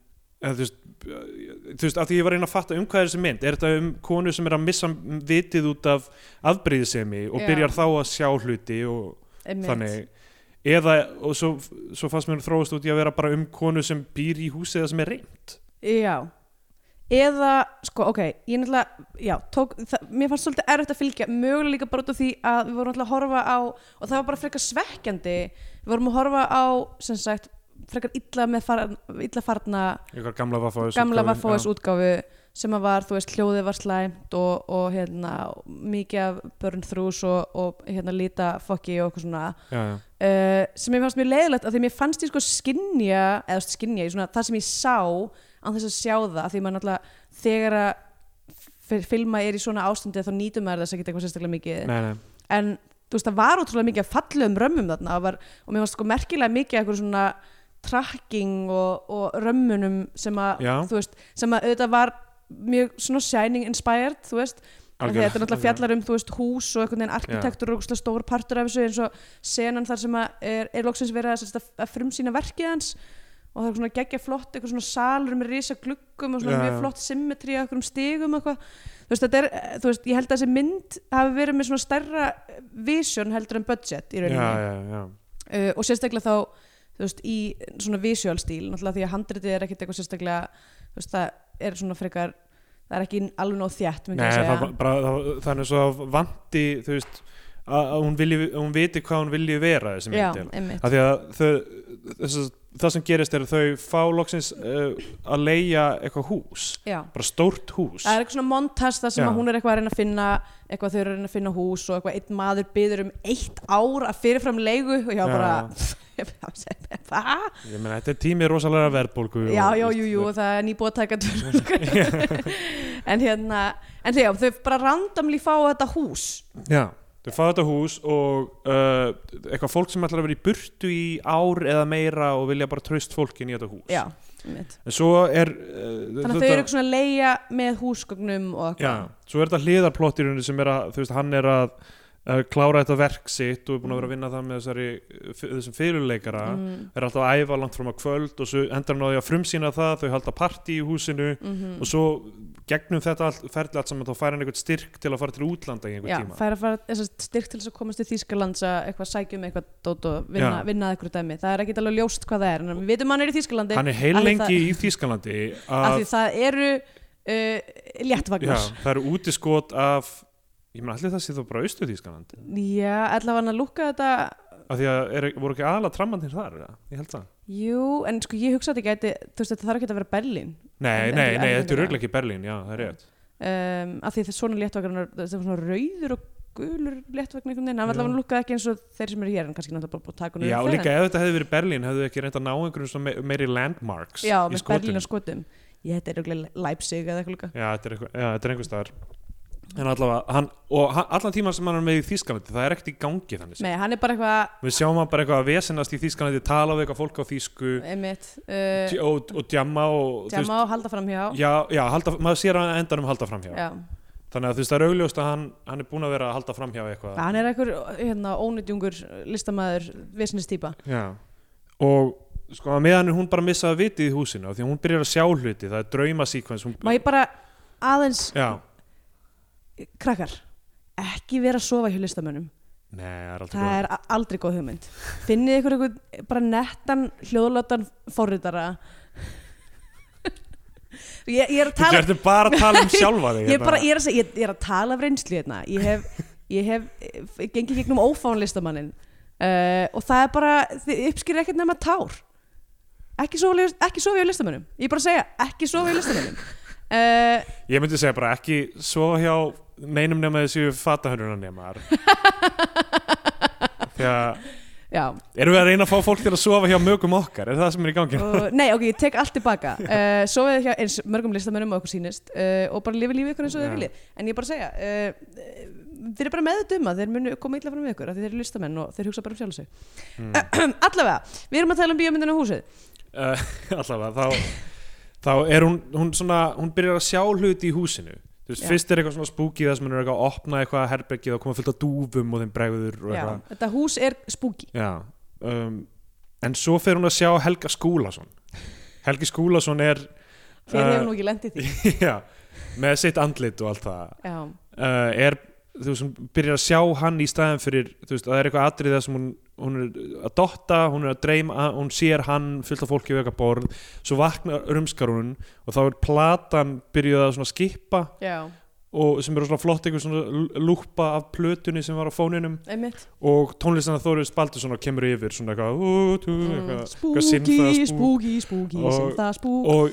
Speaker 4: En, þú, veist, eh, þú veist, af því ég var að reyna að fatta um hvað er þessi mynd er þetta um konu sem er að missa vitið út af afbrýðisemi og
Speaker 3: Já.
Speaker 4: byrjar þá að sjá hluti og,
Speaker 3: einmitt.
Speaker 4: þannig eða, og svo, svo fannst mér hún þróast út í að vera bara um konu sem býr í húsi eða sem er reynd
Speaker 3: Já Eða, sko, ok, ég náttúrulega, já, tók, það, mér fannst svolítið erfitt að fylgja, mögulega líka bara út af því að við vorum náttúrulega að horfa á, og það var bara frekar svekkjandi, við vorum að horfa á, sem sagt, frekar illa, með farna, illa farna,
Speaker 4: eitthvað gamla vaffáðis
Speaker 3: gamla var fóðis útgáfu sem að var, þú veist, hljóðið var slæmt og, og hérna, mikið af börn þrús og, og hérna, líta fokki og eitthvað svona,
Speaker 4: já, já,
Speaker 3: uh, sem mér fannst mjög leiðilegt af því mér fannst ég sko skinja eða þú veist, skinja, ég svona, það sem ég sá án þess að sjá það af því maður náttúrulega þegar að fyrir filma er í svona ástandi þá nýtum maður þess að geta eitthvað sérstaklega mikið
Speaker 4: nei, nei.
Speaker 3: en þú veist það var ótrúlega mikið að falla um römmum þarna og, var, og mér varst sko merkilega mikið eitthvað svona tracking og, og römmunum sem að
Speaker 4: Já.
Speaker 3: þú veist, sem að auðvitað var mjög svona shining inspired þú veist, af því að
Speaker 4: Algjörlega,
Speaker 3: þetta er náttúrulega
Speaker 4: algjörlega.
Speaker 3: fjallar um þú veist hús og einhvern veginn arkitektur og svona stór partur af þessu eins og senan þar sem að er, er loksins verið að, sem sagt að, að frumsýna verkið hans og það er svona geggja flott eitthvað svona salur með risa gluggum og svona
Speaker 4: Já,
Speaker 3: mjög
Speaker 4: já.
Speaker 3: flott symmetri að einhverjum stigum og eitthvað þú veist, þetta er, eh, þú veist, ég held að þessi mynd hafi verið með svona stærra vision heldur en budget í
Speaker 4: Já,
Speaker 3: rauninni
Speaker 4: já, já.
Speaker 3: uh, og sérstaklega þá þú veist, í svona visual stíl náttúrulega því að handritið er ekkit eitthvað sérstaklega þú veist, það er svona frekar það er ekki alveg nóg þjætt myndi
Speaker 4: Nei,
Speaker 3: ég
Speaker 4: það,
Speaker 3: segja.
Speaker 4: var bara, það, var- þannig svo að vanti þú veist að, að hún, vilji, að hún viti hvað hún vilji vera þessi
Speaker 3: já,
Speaker 4: myndil
Speaker 3: einmitt
Speaker 4: að því að þau, þess, það sem gerist er að þau fá loksins uh, að leia eitthvað hús
Speaker 3: já.
Speaker 4: bara stórt hús
Speaker 3: það er eitthvað svona montas þar sem
Speaker 4: Já.
Speaker 3: að hún er eitthvað að reyna að finna eitthvað þau eru að reyna að finna hús og eitthvað einn maður byður um eitt ár að fyrirfram leigu og ég var bara ég bara segi, hvað?
Speaker 4: ég meina þetta er tími rosalega verðbólgu og-
Speaker 3: já, já, jú, jú, og það er nýbúið að taka tvölu en hérna en þegar þau bara randomli fá þetta hús
Speaker 4: já þau fá þetta hús og uh, eitthvað fólk sem ætlar að vera í burtu í ár eða meira og vilja bara tröst fólkin í þetta hús
Speaker 3: já, mitt.
Speaker 4: en svo er uh,
Speaker 3: þannig að þau eru eitthvað svona að leia með húsgögnum og
Speaker 4: Já,
Speaker 3: eitthvað
Speaker 4: svo er þetta hliðarplottirunni sem er að, þú veist, hann er að uh, klára þetta verk sitt og er búin að vera að vinna það með þessari, uh, f- þessum fyrirleikara
Speaker 3: Mm,
Speaker 4: er alltaf að æfa langt fram á kvöld og svo endur hann á því að frumsýna það, þau halda partí í húsinu
Speaker 3: mhm.
Speaker 4: og svo gegnum þetta allt, ferli allt saman þá fær hann eitthvað styrk til að fara til útlanda í einhver
Speaker 3: já,
Speaker 4: tíma
Speaker 3: færa að fara þess að styrk til þess að komast til Þýskalands að eitthvað sækjum eitthvað dót og vinna,
Speaker 4: Já.
Speaker 3: vinna að eitthvað dæmi það er ekki alveg ljóst hvað það er en við veitum hann er í Þýskalandi
Speaker 4: hann er
Speaker 3: af
Speaker 4: heilengi
Speaker 3: því
Speaker 4: í Þýskalandi
Speaker 3: af
Speaker 4: að,
Speaker 3: því það eru uh,
Speaker 4: já,
Speaker 3: léttvagnar
Speaker 4: það eru útiskot af ég meina allir það sé þá bara austu Þýskalandi
Speaker 3: já, allavega hann að lúkka þetta
Speaker 4: af því að er, voru ekki aðla trammandir þar eða? ég held það
Speaker 3: jú, en sko ég hugsa að þetta gæti þú veist þetta þarf ekki að vera Berlín
Speaker 4: Nei,
Speaker 3: En-
Speaker 4: nei,
Speaker 3: en-
Speaker 4: nei,
Speaker 3: en-
Speaker 4: þetta er auðvitað ekki Berlín, já, það er rétt
Speaker 3: um, af því það er svona léttvagnar það er svona rauður og gulur léttvagnar einhvern veginn, hann
Speaker 4: Já.
Speaker 3: allavega lúkkaði ekki eins og þeir sem eru hér en kannski náttúrulega bara búið að taka hann
Speaker 4: Já,
Speaker 3: upp
Speaker 4: og
Speaker 3: fyrr,
Speaker 4: líka ef þetta hefði verið Berlín hefðu þau ekki reynd að ná einhverjum svona me- meiri landmarks
Speaker 3: Já,
Speaker 4: í
Speaker 3: með
Speaker 4: skotum.
Speaker 3: Berlín og skotum Ég þetta er auðvitað Leipzig eða eitthvað líka
Speaker 4: Já, þetta er, eitthvað- já, þetta er einhver staðar En allavega, hann, og hann, allan tíma sem hann er með í Þýskalandi, það er ekkert í gangi þannig sem.
Speaker 3: Nei, hann er bara eitthvað
Speaker 4: Við sjáum hann bara eitthvað að vesenast í Þýskalandi tala við eitthvað fólk á Þýsku
Speaker 3: einmitt, uh,
Speaker 4: uh, og, og djamma og þú
Speaker 3: Djama og halda fram hjá
Speaker 4: já, já halda, maður sér hann endanum halda framhjá
Speaker 3: Já.
Speaker 4: Þannig að þú veist, það er augljóst að hann, hann er búin að vera að halda framhjá eitthvað
Speaker 3: Hann er eitthvað hérna, ónýtjungur listamaður visnistýpa
Speaker 4: Já, og sko að meðan er hún bara missaði vitið í húsinu af því að hún byrjar að sjá hluti, það er draumasíkvens hún...
Speaker 3: Má ég bara aðeins
Speaker 4: Já,
Speaker 3: krakkar ekki vera að sofa hjá listamönnum
Speaker 4: nei, það er alltaf
Speaker 3: það er a- aldrei góð hugmynd finnið ykkur eitthvað bara nettan hljóðlátan forritara ég, ég er að
Speaker 4: Þú
Speaker 3: tala
Speaker 4: ertu bara að tala um sjálfa þig
Speaker 3: ég er,
Speaker 4: hérna.
Speaker 3: bara, ég, er að, segja- ég, ég er að tala af reynslu hérna ég hef, ég hef eh, gengið gegnum ófáin listamannin uh, og það er bara, þið uppskýrir ekkert nema tár ekki sofa, ekki sofa hjá listamannum ég er bara að segja, ekki sofa hjá listamannum uh,
Speaker 4: ég myndi segja bara ekki svo hjá neinum nema þessu fatahönnunar nema Þegar
Speaker 3: já
Speaker 4: erum við að reyna að fá fólk til að sofa hjá mögum okkar, er það sem er í gangi?
Speaker 3: og, nei, ok, ég tek allt tilbaka uh, sofið hjá eins mörgum listamannum og okkur sýnist uh, og bara lifi lífið ykkur eins og þið
Speaker 4: Já.
Speaker 3: viljið en ég er bara að segja uh, eh, þeir eru bara með þetta um að þeir munu koma illa fram við ykkur af því þeir eru listamenn og þeir hugsa bara um sjálf sig
Speaker 4: Mm.
Speaker 3: allavega, við erum að tala um bíómyndina húsið
Speaker 4: uh, allavega þá, þá er hún, hún svona, hún byrjar að sjá hluti í húsinu Þú veist,
Speaker 3: Já.
Speaker 4: fyrst er eitthvað svona spooky það sem hún er eitthvað að opna eitthvað herbergið og koma fullt af dúfum og þeim bregður og
Speaker 3: Já,
Speaker 4: eitthvað
Speaker 3: þetta hús er spooky
Speaker 4: Já, um, en svo fer hún að sjá Helga Skúlason Helgi Skúlason er
Speaker 3: Hver
Speaker 4: Eh,
Speaker 3: hefur nú ekki lendið því?
Speaker 4: já, með sitt andlit og allt það
Speaker 3: Já,
Speaker 4: uh, er, þú veist, hún byrjar að sjá hann í staðan fyrir, þú veist, það er eitthvað atrið þar sem hún, hún er að dotta hún er að dreyma, hún sér hann fullt af fólki við eitthvað borð, svo vaknar rumskar hún og þá er platan byrjuð að svona skipa
Speaker 3: já,
Speaker 4: og sem eru svona flott einhver svona l- lúppa af plötunni sem var á fóninum
Speaker 3: einmitt
Speaker 4: og tónlistina Þóriðs Baldursson kemur yfir svona eitthvað, ú, tú, eitthvað, eitthvað
Speaker 3: Mm, Spooky,
Speaker 4: sinfað spúk.
Speaker 3: spooky, spooky,
Speaker 4: Og-
Speaker 3: sem það spooky
Speaker 4: og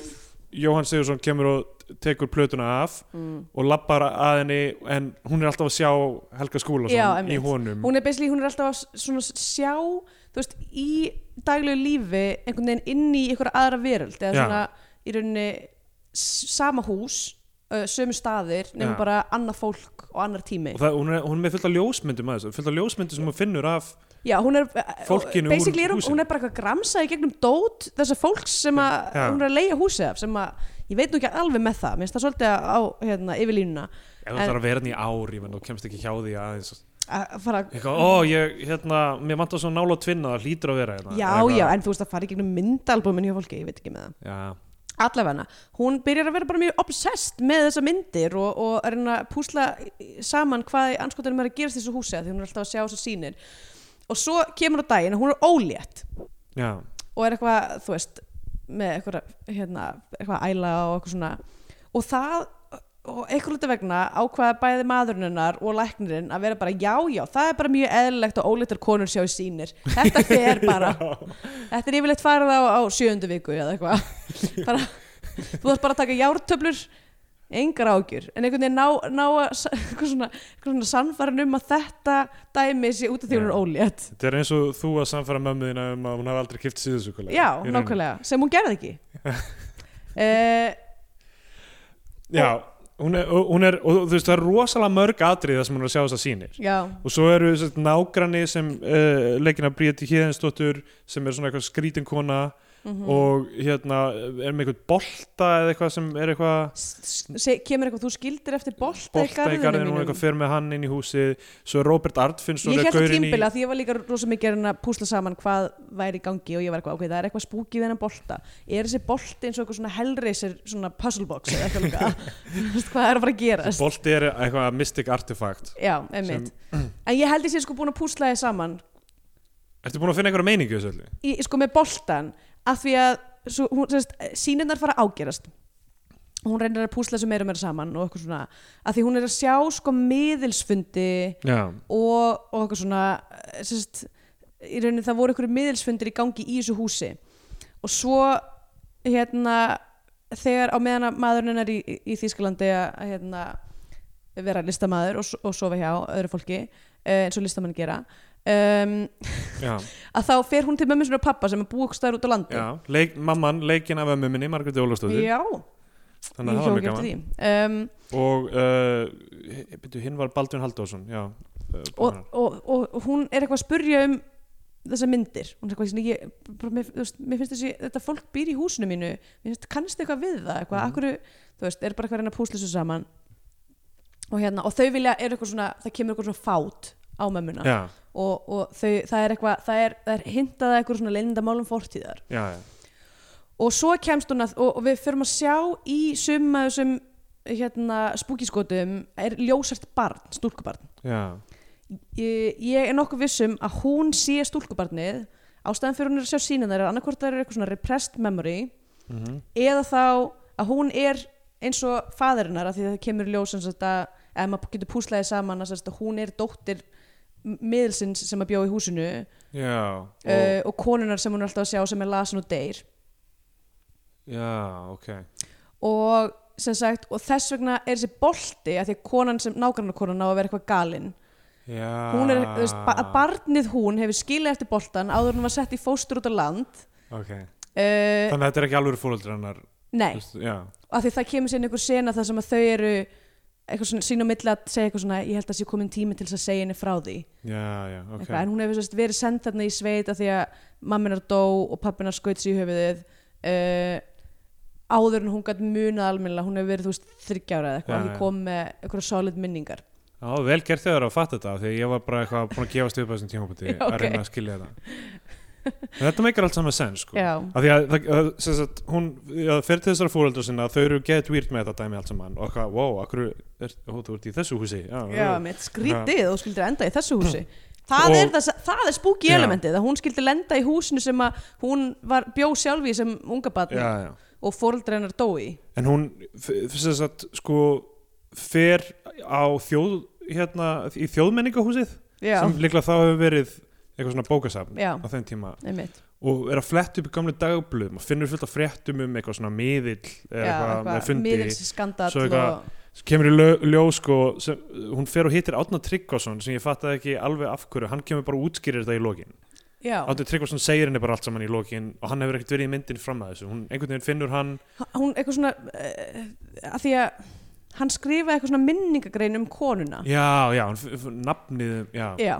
Speaker 4: Jóhann Sigursson kemur og tekur plötuna af
Speaker 3: Mm.
Speaker 4: og lappar að henni en hún er alltaf að sjá Helga
Speaker 3: Já,
Speaker 4: Skúlason
Speaker 3: einmitt.
Speaker 4: í honum
Speaker 3: Hún er basically, hún er alltaf að svona sjá þú veist, í daglegu lífi einhvern veginn inn í einhverja aðra veröld eða
Speaker 4: Já.
Speaker 3: svona í rauninni s- sama hús uh, sömu staðir nema
Speaker 4: Já.
Speaker 3: bara annað fólk og annar tími
Speaker 4: og það, hún, er, hún er með fullt af ljósmyndum að þessu fullt af ljósmyndum sem hún finnur af
Speaker 3: já, hún er,
Speaker 4: Fólkinu úr
Speaker 3: basically er hún,
Speaker 4: húsinu.
Speaker 3: hún er bara eitthvað gramsað í gegnum dót þessa fólks sem að
Speaker 4: Já.
Speaker 3: hún er að leigja húsið af sem að, ég veit nú ekki alveg með það mér finnst það svolítið á, hérna, yfir línuna
Speaker 4: ef þú
Speaker 3: En-
Speaker 4: þarf að vera hann í ár, ég menn, þú kemst ekki hjá því aðeins
Speaker 3: að fara að
Speaker 4: eitthvað, ó, ég, hérna, mér vantar svona nála tvinna það hlýtur að vera hérna
Speaker 3: Já,
Speaker 4: Eitthvað.
Speaker 3: já, en þú veist að fara í gegnum myndalbumin hjá fólki, ég veit ekki með það.
Speaker 4: já,
Speaker 3: Allavega, hún byrjar að vera bara mjög obsessed með þessa myndir og, og er að púsla saman hvað í anskotunum er að gerast í þessu húsi af því hún er alltaf að sjá þessu sýnir. Og svo kemur á daginn að hún er ólétt
Speaker 4: já,
Speaker 3: og er eitthvað, þú veist, með eitthvað, hérna, eitthvað æla og eitthvað svona. Og það, og eitthvað hluti vegna ákvaða bæði maðurinn hennar og læknirinn að vera bara, já, já, það er bara mjög eðlilegt og óléttar konur sjá í sýnir. Þetta fer bara. Þetta er yfirleitt farið á, á sjöundu viku eða eitthvað bara, Þú þarf bara að taka jártöflur engar ágjur, en einhvern veginn ná, ná að s- eitthvað svona, eitthvað svona sannfærin um að þetta dæmi sé út af því hún er
Speaker 4: Já.
Speaker 3: ólétt
Speaker 4: þetta er eins og þú að samfæra mömmu þína um að hún hafi aldrei kipt síðusúkulega
Speaker 3: Já, nákvæmlega, sem hún gerði ekki uh,
Speaker 4: já, hún er, og- hún er, og þú veist, það er rosalega mörg atrið það sem hún er að sjá þess að sýnir
Speaker 3: Já,
Speaker 4: og svo eru þess að nágrani sem uh, leikin að Bríeti Híðinsdóttur sem er svona eitthvað skrítin kona
Speaker 3: Mhm.
Speaker 4: og hérna er með eitthvað bolta eða eitthvað sem er eitthvað
Speaker 3: S- se- kemur eitthvað, þú skildir eftir bolta,
Speaker 4: bolta í garðinu og eitthvað fer með hann inn í húsið svo er Robert Artfinnsson
Speaker 3: Ég
Speaker 4: er
Speaker 3: held það
Speaker 4: gaurinn í-
Speaker 3: tímbila því ég var líka rosa mikið að reyna að púsla saman hvað væri í gangi og ég var eitthvað, ok, það er eitthvað spúkið þennan bolta. Er þessi bolti eins og eitthvað svona hellraiser, svona puzzle box eða eitthvað líka? Þú veist, hvað er að fara að gerast?
Speaker 4: bolti er eitthvað mystic artifact
Speaker 3: Já, einmitt. En ég held ég sé sko búin að púsla þið saman,
Speaker 4: Ertu búin að finna einhverja meiningu þessu öllu?
Speaker 3: í, sko með boltan, af því að svo, hún, sérst, sínirnar fara að ágerast. Og Hún reynir að púsla þessu meira og meira saman og eitthvað svona, af því hún er að sjá sko miðilsfundi
Speaker 4: Já,
Speaker 3: og, og eitthvað svona eh, sérst, í rauninni það voru einhverju miðilsfundir í gangi í þessu húsi og svo hérna þegar á meðan að maðurinn hennar í, í Þýskalandi að hérna, vera listamaður og, s- og sofa hjá öðru fólki eh, eins og listamann gera um,
Speaker 4: já,
Speaker 3: að þá fer hún til mömmu sinni og pappa sem er búið út á landi
Speaker 4: já. Leik, Mamman, leikin af ömmu minni, Margreti Ólafsdóttir
Speaker 3: Já,
Speaker 4: Þannig að það
Speaker 3: ég
Speaker 4: var
Speaker 3: hjá
Speaker 4: mjög gaman
Speaker 3: því um,
Speaker 4: Og uh, byrju, hinn var Baldvin Halldórsson Já, uh,
Speaker 3: og, og, og, og hún er eitthvað að spurja um þessar myndir hún er eitthvað, svona, ég, bara, mér, þú veist, mér finnst þessi, þetta fólk býr í húsinu mínu mér finnst kannast eitthvað við það
Speaker 4: Mhm.
Speaker 3: eitthvað, mm. akkur, þú veist, er bara eitthvað að reyna að púsla þessu saman og hérna, og þau vilja er eitthvað svona, það kemur eitthvað svona fát á mömmuna
Speaker 4: já,
Speaker 3: og, og þau, það er eitthvað það er, það er hintað að eitthvað svona leyndamálum fortíðar
Speaker 4: já, já.
Speaker 3: og svo kemst hún að, og, og við förum að sjá í summa þessum hérna, spúkiskotum er ljósart barn, stúlkubarn
Speaker 4: já.
Speaker 3: ég, ég er nokkuð vissum að hún sé stúlkubarnið ástæðan fyrir hún er að sjá sína þeirra annarkvort það er eitthvað svona repressed memory eða þá að hún er eins og fæðurinnar að því að það kemur í ljós sem sagt að ef maður getur púslaði saman að, sem sagt að hún er dóttir m- miðilsins sem að bjó í húsinu
Speaker 4: Já, og,
Speaker 3: uh, og konunar sem hún er alltaf að sjá sem er lasin og deyr
Speaker 4: já, ok
Speaker 3: og sem sagt og þess vegna er þessi bolti að því að konan sem nágrannarkonan á að vera eitthvað galinn
Speaker 4: já.
Speaker 3: hún er, þú veist, ba að barnið hún hefur skilið eftir boltan áður en hún var sett í fóstur út á land
Speaker 4: okay.
Speaker 3: uh,
Speaker 4: Þannig að þetta er ekki alveg fóröldri hennar
Speaker 3: nei,
Speaker 4: þú veist, Já,
Speaker 3: af því það kemur sér einhver sena þar sem að þau eru eitthvað svona sín á milli að segja eitthvað svona ég held að sé komin tími til þess að segja henni frá því
Speaker 4: já, já, ok
Speaker 3: eitthvað, en hún hefur sérst, verið send þarna í sveit af því að mamminar dó og pappinar skaut sér í höfuðið uh, áður en hún gætt munað almennilega, hún hefur verið þú veist þryggjára
Speaker 4: Já,
Speaker 3: eða eitthvað, af
Speaker 4: já.
Speaker 3: því kom með eitthvað solid minningar
Speaker 4: Já, vel gert þau að fatta þetta Þegar ég var bara eitthvað búin að gefast upp á þessum tímapunkti
Speaker 3: Já, ok.
Speaker 4: að reyna að skilja þetta En þetta meikar allt saman sens sko.
Speaker 3: Já.
Speaker 4: Af því að, það, að sem sagt, hún já, fer til þessara fóröldra sinna þau eru get weird með þetta dæmi allt saman og hvað, wow, akkur er, ó, þú ert í þessu húsi Já,
Speaker 3: Já, mitt skrítið og skildir enda í þessu húsi Það,
Speaker 4: Og-
Speaker 3: er, það, það er spooky
Speaker 4: Já.
Speaker 3: elementið að hún skildi lenda í húsinu sem að hún var, bjó sjálfi sem unga batni
Speaker 4: já, já.
Speaker 3: og fóreldri hennar dói
Speaker 4: en hún f- f- sem sagt, sko, fer á þjóð hérna, í þjóðmenningahúsið
Speaker 3: Já,
Speaker 4: sem líklega þá hefur verið eitthvað svona bókasafn
Speaker 3: Já.
Speaker 4: á þeim tíma
Speaker 3: einmitt
Speaker 4: og er að fletta upp í gamlu dagblöðum og finnur fullt af fréttum um eitthvað svona miðill eða
Speaker 3: Já,
Speaker 4: eitthvað með fundi
Speaker 3: miðils skandall
Speaker 4: Svo eitthvað-
Speaker 3: og,
Speaker 4: sem kemur í ljó- ljós sko, sem, hún fer og hittir Átna Tryggvason sem ég fattaði ekki alveg af hverju hann kemur bara og útskýrir þetta í lokin
Speaker 3: Já,
Speaker 4: Átna Tryggvason segir henni bara allt saman í lokin og hann hefur ekkert verið í myndin fram að þessu hún einhvern veginn finnur hann
Speaker 3: hún eitthvað svona uh, eh, að því að hann skrifaði eitthvað svona minningagrein um konuna
Speaker 4: já, já, hún f- f- nafnið já,
Speaker 3: já,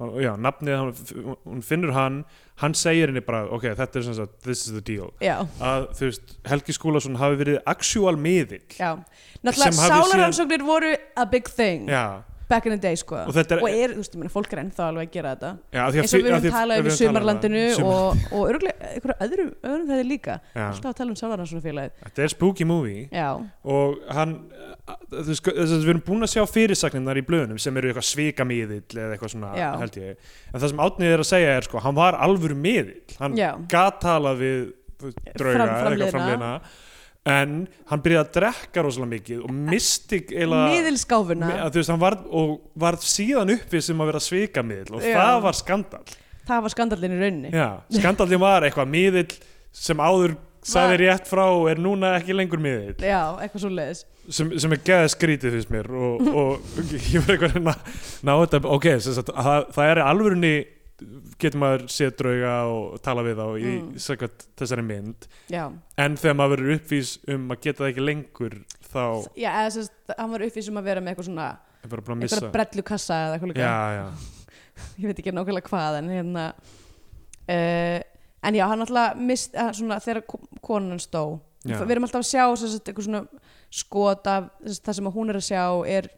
Speaker 4: Hún- já nafnið, hann f- hún finnur hann hann segir henni bara, ok, þetta er sem sagt this is the deal
Speaker 3: já,
Speaker 4: að þú veist, Helgi Skúlason hafi verið actual miðill
Speaker 3: já
Speaker 4: Sem
Speaker 3: náttúrulega
Speaker 4: hafði síðan-
Speaker 3: sálarannsóknir voru a big thing
Speaker 4: já,
Speaker 3: back in the day sko
Speaker 4: Og þetta er-
Speaker 3: þú veist, ég meina, fólk er ennþá alveg að gera þetta
Speaker 4: já af því að
Speaker 3: eins og
Speaker 4: fi-
Speaker 3: við
Speaker 4: af því
Speaker 3: höfum
Speaker 4: að- við
Speaker 3: talað um í
Speaker 4: höfum talað
Speaker 3: sumarlandinu
Speaker 4: um það. Sumar-
Speaker 3: og, og örgulega einhverju öðrum, öðrum þetta líka
Speaker 4: já.
Speaker 3: alltaf að tala um sálarannsóknarfélagið
Speaker 4: þetta er spooky movie
Speaker 3: já,
Speaker 4: og hann þú veist, þess að við erum búin að sjá fyrirsagnirnar í blöðunum sem eru eitthvað svikamíðill eða eitthvað svona
Speaker 3: Já.
Speaker 4: held ég en það sem átnið er að segja er sko hann var alvöru miðill, hann
Speaker 3: Já.
Speaker 4: gat talað við þú veist, drauga
Speaker 3: Fram-
Speaker 4: eða eitthvað framleina
Speaker 3: framliðna.
Speaker 4: en hann byrjaði að drekka rosalega mikið og misti eila
Speaker 3: miðilskáfuna
Speaker 4: að, þú veist, hann varð, og varð síðan uppi sem að vera svikamíðill og
Speaker 3: Já.
Speaker 4: það var skandal
Speaker 3: það var skandalinn í rauninni
Speaker 4: Já, skandallin var eitthvað miðill sem áður sagði rétt frá og er núna ekki lengur miðill
Speaker 3: já, eitthvað svo leiðis
Speaker 4: sem, sem er geða skrítið fyrst mér og, og ég var eitthvað að reyna að ná þetta, ok, sem sagt, það, það er í alvörunni getur maður séð drauga og tala við þá í
Speaker 3: Mm.
Speaker 4: mm. þessari mynd
Speaker 3: já,
Speaker 4: en þegar maður verður uppvís um að geta það ekki lengur þá er
Speaker 3: já eða sem sagt, hann var uppvísum að vera með eitthvað svona
Speaker 4: bara búin að missa
Speaker 3: einhverja brellukassa eða eitthvað líka
Speaker 4: já, já,
Speaker 3: ég veit ekki nákvæmlega hvað en hérna uh, en já, hann alltaf mist eh, svona, þegar ko- konan hans dó
Speaker 4: Já.
Speaker 3: við erum alltaf að sjá sem sagt, eitthvað svona skot af sem sagt, það sem að hún er að sjá er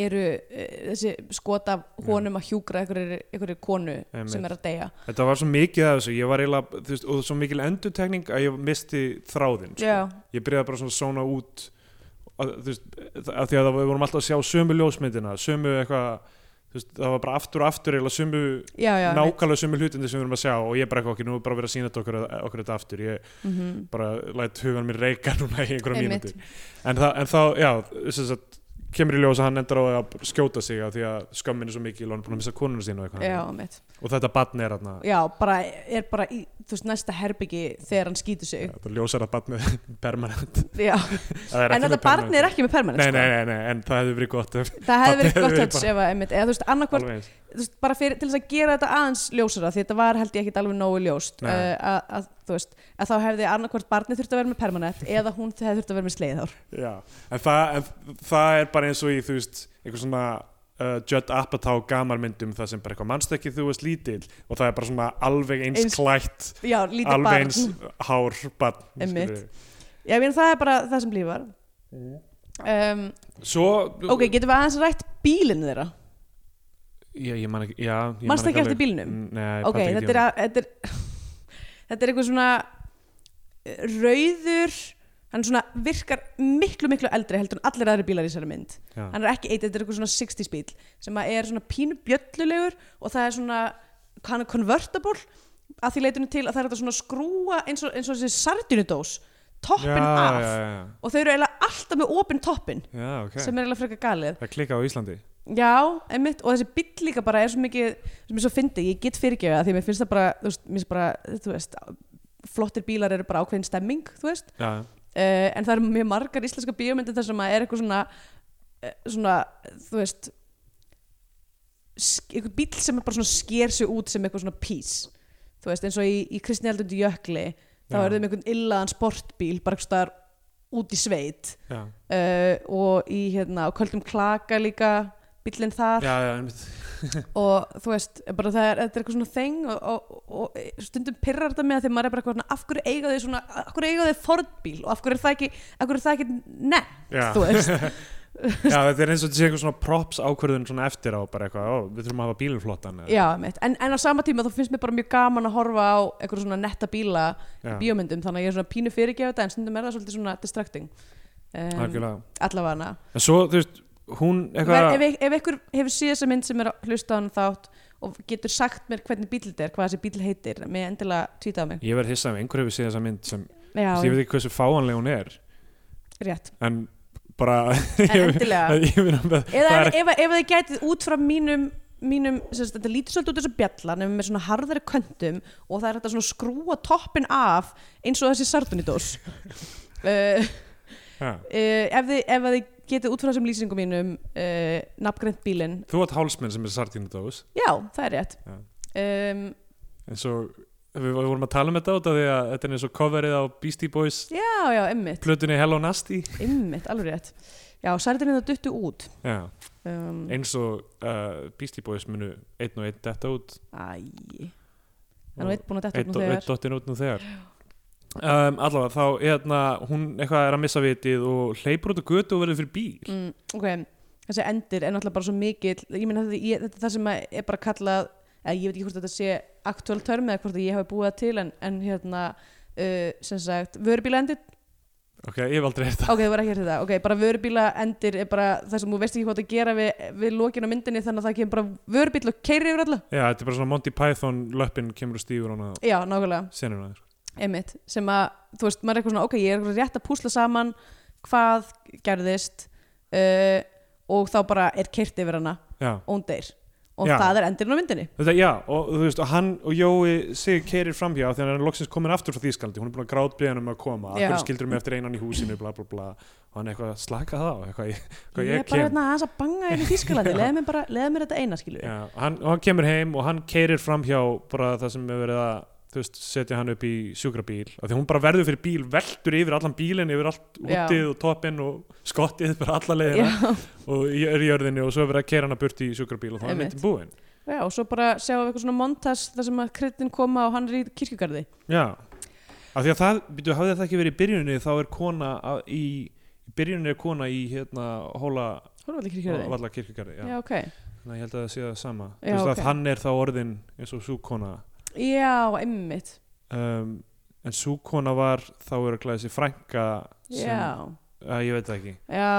Speaker 3: eru uh, þessi skot af honum að hjúkra einhverjir einhverjir konu
Speaker 4: Einmitt.
Speaker 3: sem er að deyja
Speaker 4: þetta var svo mikið af þessu ég var eiginlega, þú veist, og svo mikil endurtekning að ég misti þráðinn sko.
Speaker 3: Já.
Speaker 4: ég byrjaði bara svona að sóna út að, þú veist, af því að það við vorum alltaf að sjá sömu ljósmyndina, sömu eitthvað þú veist, það var bara aftur og aftur eiginlega sömu
Speaker 3: já, já, einmitt.
Speaker 4: nákvæmlega sömu hlutindi sem við erum að sjá og ég bara eitthvað okkur, nú er bara verið að sína þetta okkur, okkur þetta aftur, ég
Speaker 3: Mhm.
Speaker 4: bara læt hugan mér reyka núna í einhverja
Speaker 3: Einmitt.
Speaker 4: mínúti en, það, en þá, já, þess að kemur í ljós að hann endur á að skjóta sig af því að skömmin er svo mikil og hann er búin að missa konuna sín og,
Speaker 3: já,
Speaker 4: eitthvað.
Speaker 3: mitt
Speaker 4: og þetta batni er hann
Speaker 3: já, bara er bara í þú veist næsta herbyggi þegar hann skýtur sig
Speaker 4: það ljósar að barnið permanent
Speaker 3: já. en þetta barn er ekki með permanent
Speaker 4: nei, nei, nei, nei, en það hefði verið gott ef-
Speaker 3: sko. það hefði verið
Speaker 4: Barnið
Speaker 3: gott
Speaker 4: hefði
Speaker 3: höfns ef að einmitt, eða þú veist annarkvort
Speaker 4: alveg eins.
Speaker 3: þú veist, bara fyrir, til þess að gera þetta aðeins ljósara því þetta var held ég ekkit alveg nógu ljóst
Speaker 4: Nei.
Speaker 3: uh, að, að, þú veist, að þá hefði annarkvort barnið þurft að vera með permanent eða hún hefði þurft að vera með sleiðhár
Speaker 4: Já, en það, en það er bara eins og í þú veist, eitthvað svona uh, Judd Apatow gamarmyndum það sem bara eitthvað mannstekki þú veist lítill og það er bara svona alveg eins,
Speaker 3: Eins-
Speaker 4: klætt
Speaker 3: já, lítið
Speaker 4: alveg
Speaker 3: barn
Speaker 4: eins hár barn
Speaker 3: Einmitt.
Speaker 4: skilurðu.
Speaker 3: já, ég meina, það er bara það sem lífar um,
Speaker 4: Svo
Speaker 3: ok, getum við aðeins rætt bílinu þeirra
Speaker 4: Já, ég man ekki, já ég man
Speaker 3: Manstu ekki
Speaker 4: alveg-
Speaker 3: eftir bílnum?
Speaker 4: Nei,
Speaker 3: ok, þetta er, að, þetta er þetta er eitthvað svona eh, rauður hann svona virkar miklu miklu eldri heldur en allir aðri bílar í þessari mynd
Speaker 4: er
Speaker 3: hann er ekki eitt, þetta er eitthvað svona 60s bíl sem að er svona pínu bjöllulegur og það er svona, hann er convertible að því leitinu til að það er þetta svona skrúa eins og, eins og þessi sardinudós toppin af
Speaker 4: Já, já,
Speaker 3: og þau eru eiginlega alltaf með opin toppin
Speaker 4: já, já, ok
Speaker 3: sem er eiginlega frekar galið
Speaker 4: Það klikka á Íslandi
Speaker 3: já, einmitt, og þessi bíll líka bara er svo mikið sem er svo fyndið, ég get fyrirgefið það því mér finnst það bara, þú veist, mér finnst bara þú veist, flottir bílar eru bara ákveðin stemming þú veist,
Speaker 4: Já,
Speaker 3: uh, en það eru mjög margar íslenska bíómyndir þar sem að er eitthvað svona uh, svona, þú veist sk- einhver bíl sem er bara svona sker sig út sem eitthvað svona pís þú veist, eins og í, í Kristi Aldundu Jökli þá
Speaker 4: Já.
Speaker 3: eru þeim einhvern illaðan sportbíl bara einhvers staðar út í sveit
Speaker 4: já,
Speaker 3: uh, og í hérna, á köldum klaka líka bílinn þar
Speaker 4: já, já, einmitt
Speaker 3: og þú veist, bara það er, þetta er eitthvað svona þeng og, og, og, og stundum pirrar þetta með að því maður er bara eitthvað svona, af hverju eiga þau svona af hverju eiga þau Ford-bíl og af hverju er það ekki af hverju er það ekki nefnt,
Speaker 4: Já.
Speaker 3: þú veist
Speaker 4: Já, þetta er eins og þetta sé eitthvað svona props ákvörðun svona eftir á bara eitthvað, ó, við þurfum að hafa bílflottan eða-
Speaker 3: Já, mitt, en, en á sama tíma þá finnst mér bara mjög gaman að horfa á eitthvað svona netta bíla í
Speaker 4: Já.
Speaker 3: bíómyndum, þannig að ég er svona pínu fyrirgefa þetta en stundum er það svolítið svona distracting um,
Speaker 4: Algjörlega.
Speaker 3: allavega hana
Speaker 4: En svo, þú veist, hún
Speaker 3: Ver, ef,
Speaker 4: eitthvað
Speaker 3: ef ykkur hefur séð þessa mynd sem er að hlusta á hann þátt og getur sagt mér hvernig bíl þetta er, hvað þessi bíl heitir með endilega tvítið á mig
Speaker 4: Ég verð hissað ef einhver hefur séð þessa mynd sem ég
Speaker 3: Já,
Speaker 4: veit ekki hversu fáanlega hún er
Speaker 3: rétt
Speaker 4: en bara
Speaker 3: En endilega.
Speaker 4: ég, meina með,
Speaker 3: eða
Speaker 4: það
Speaker 3: ef,
Speaker 4: er,
Speaker 3: ef, ef þið gætið út frá mínum mínum, sem sagt, þetta lítur svolítið út þessu bjalla nefnum með svona harðari köntum og það er þetta svona skrúa toppin af eins og þessi sardunidós uh, uh,
Speaker 4: ja,
Speaker 3: eh, ef þið, ef þið getið út frá þessum lýsingum mínum uh, nafngrænt bílinn
Speaker 4: Þú átt hálsmenn sem er sardínudós
Speaker 3: já, það er rétt
Speaker 4: Já.
Speaker 3: um,
Speaker 4: eins og við, við vorum að tala um þetta út af því að þetta er eins og coverið á Beastie Boys
Speaker 3: já, já, ymmit,
Speaker 4: plötunni Hello Nasty
Speaker 3: ymmit, alveg rétt já, sardinni það duttu út
Speaker 4: já,
Speaker 3: um,
Speaker 4: eins og uh, Beastie Boys munu einn og einn detta út
Speaker 3: æ það er nú eitt búin að detta
Speaker 4: einn
Speaker 3: út
Speaker 4: og
Speaker 3: nú
Speaker 4: einn
Speaker 3: þegar
Speaker 4: dottin út nú þegar um, allavega þá hérna, hún eitthvað er að missa vitið og hleypur út á götu og verður fyrir bíl
Speaker 3: mm, ok, þessi endir er náttúrulega bara svo mikill ég meina þetta, ég, þetta er það sem að er bara kallað eða ég veit ekki hvort þetta sé aktúal törm eða hvort að ég hef búið það til en, en hérna, uh, sem sagt vörubílaendir,
Speaker 4: ok, ég hef aldrei þetta
Speaker 3: ok, það var ekki þetta ok, bara vörubílaendir er bara það sem þú veist ekki hvað það gera við, við lokin á myndinni þannig að það kemur bara vörubíl og keiri yfir alla
Speaker 4: já, þetta er bara svona Monty Python löppin kemur og stífur hana
Speaker 3: já, nákvæmlega
Speaker 4: senuna sko.
Speaker 3: einmitt, sem að þú veist, maður er eitthvað svona, ok, ég er eitthvað rétt að púsla saman hvað gerðist uh, og þá bara er kert yfir hana
Speaker 4: já
Speaker 3: og hún deyr og
Speaker 4: Já.
Speaker 3: það er endurinn á myndinni
Speaker 4: Þetta, já, og þú veist, og hann og Jói sig keirir framhjá þegar hann er loksins komin aftur frá Þýskaldi, hún er búin að grátbyrja hann um að koma
Speaker 3: Já.
Speaker 4: akkur skildur mig eftir einan í húsinu, bla bla bla og hann er eitthvað að slaka það á, eitthvað, ég- eitthvað
Speaker 3: ég
Speaker 4: Sko, ég,
Speaker 3: er bara
Speaker 4: kem
Speaker 3: hérna aðeins að banga hérna í Þískalandi leða mér bara, leða mér þetta eina skilur við.
Speaker 4: já, hann, og hann kemur heim og hann keirir framhjá bara það sem er verið að þú veist, setja hann upp í sjúkrabíl af því hún bara verður fyrir bíl, veldur yfir allan bílinn yfir allt
Speaker 3: Já.
Speaker 4: útið og toppinn og skottið bara alla
Speaker 3: já.
Speaker 4: leiðina og í- er í jörðinni og svo er verið að keira hana burt í sjúkrabíl og þá er
Speaker 3: Einmitt.
Speaker 4: myndin búin
Speaker 3: já, og svo bara sjáum við eitthvað svona montas þar sem að kryddin koma og hann er í kirkjugarði
Speaker 4: Já, af því að það, byrju, hafði það ekki verið í byrjunni þá er kona að, í, í byrjunni er kona í hérna hóla
Speaker 3: hún er allir kirkjugarði
Speaker 4: valla kirkjugarði, já,
Speaker 3: já, ok,
Speaker 4: þannig að ég held að það sé það sama
Speaker 3: Já,
Speaker 4: þú veist
Speaker 3: ok.
Speaker 4: að hann er þá orðin eins og súkona
Speaker 3: já, einmitt
Speaker 4: um, en súkona var þá er að klæða sér frænka sem,
Speaker 3: já,
Speaker 4: að, ég veit það ekki
Speaker 3: já,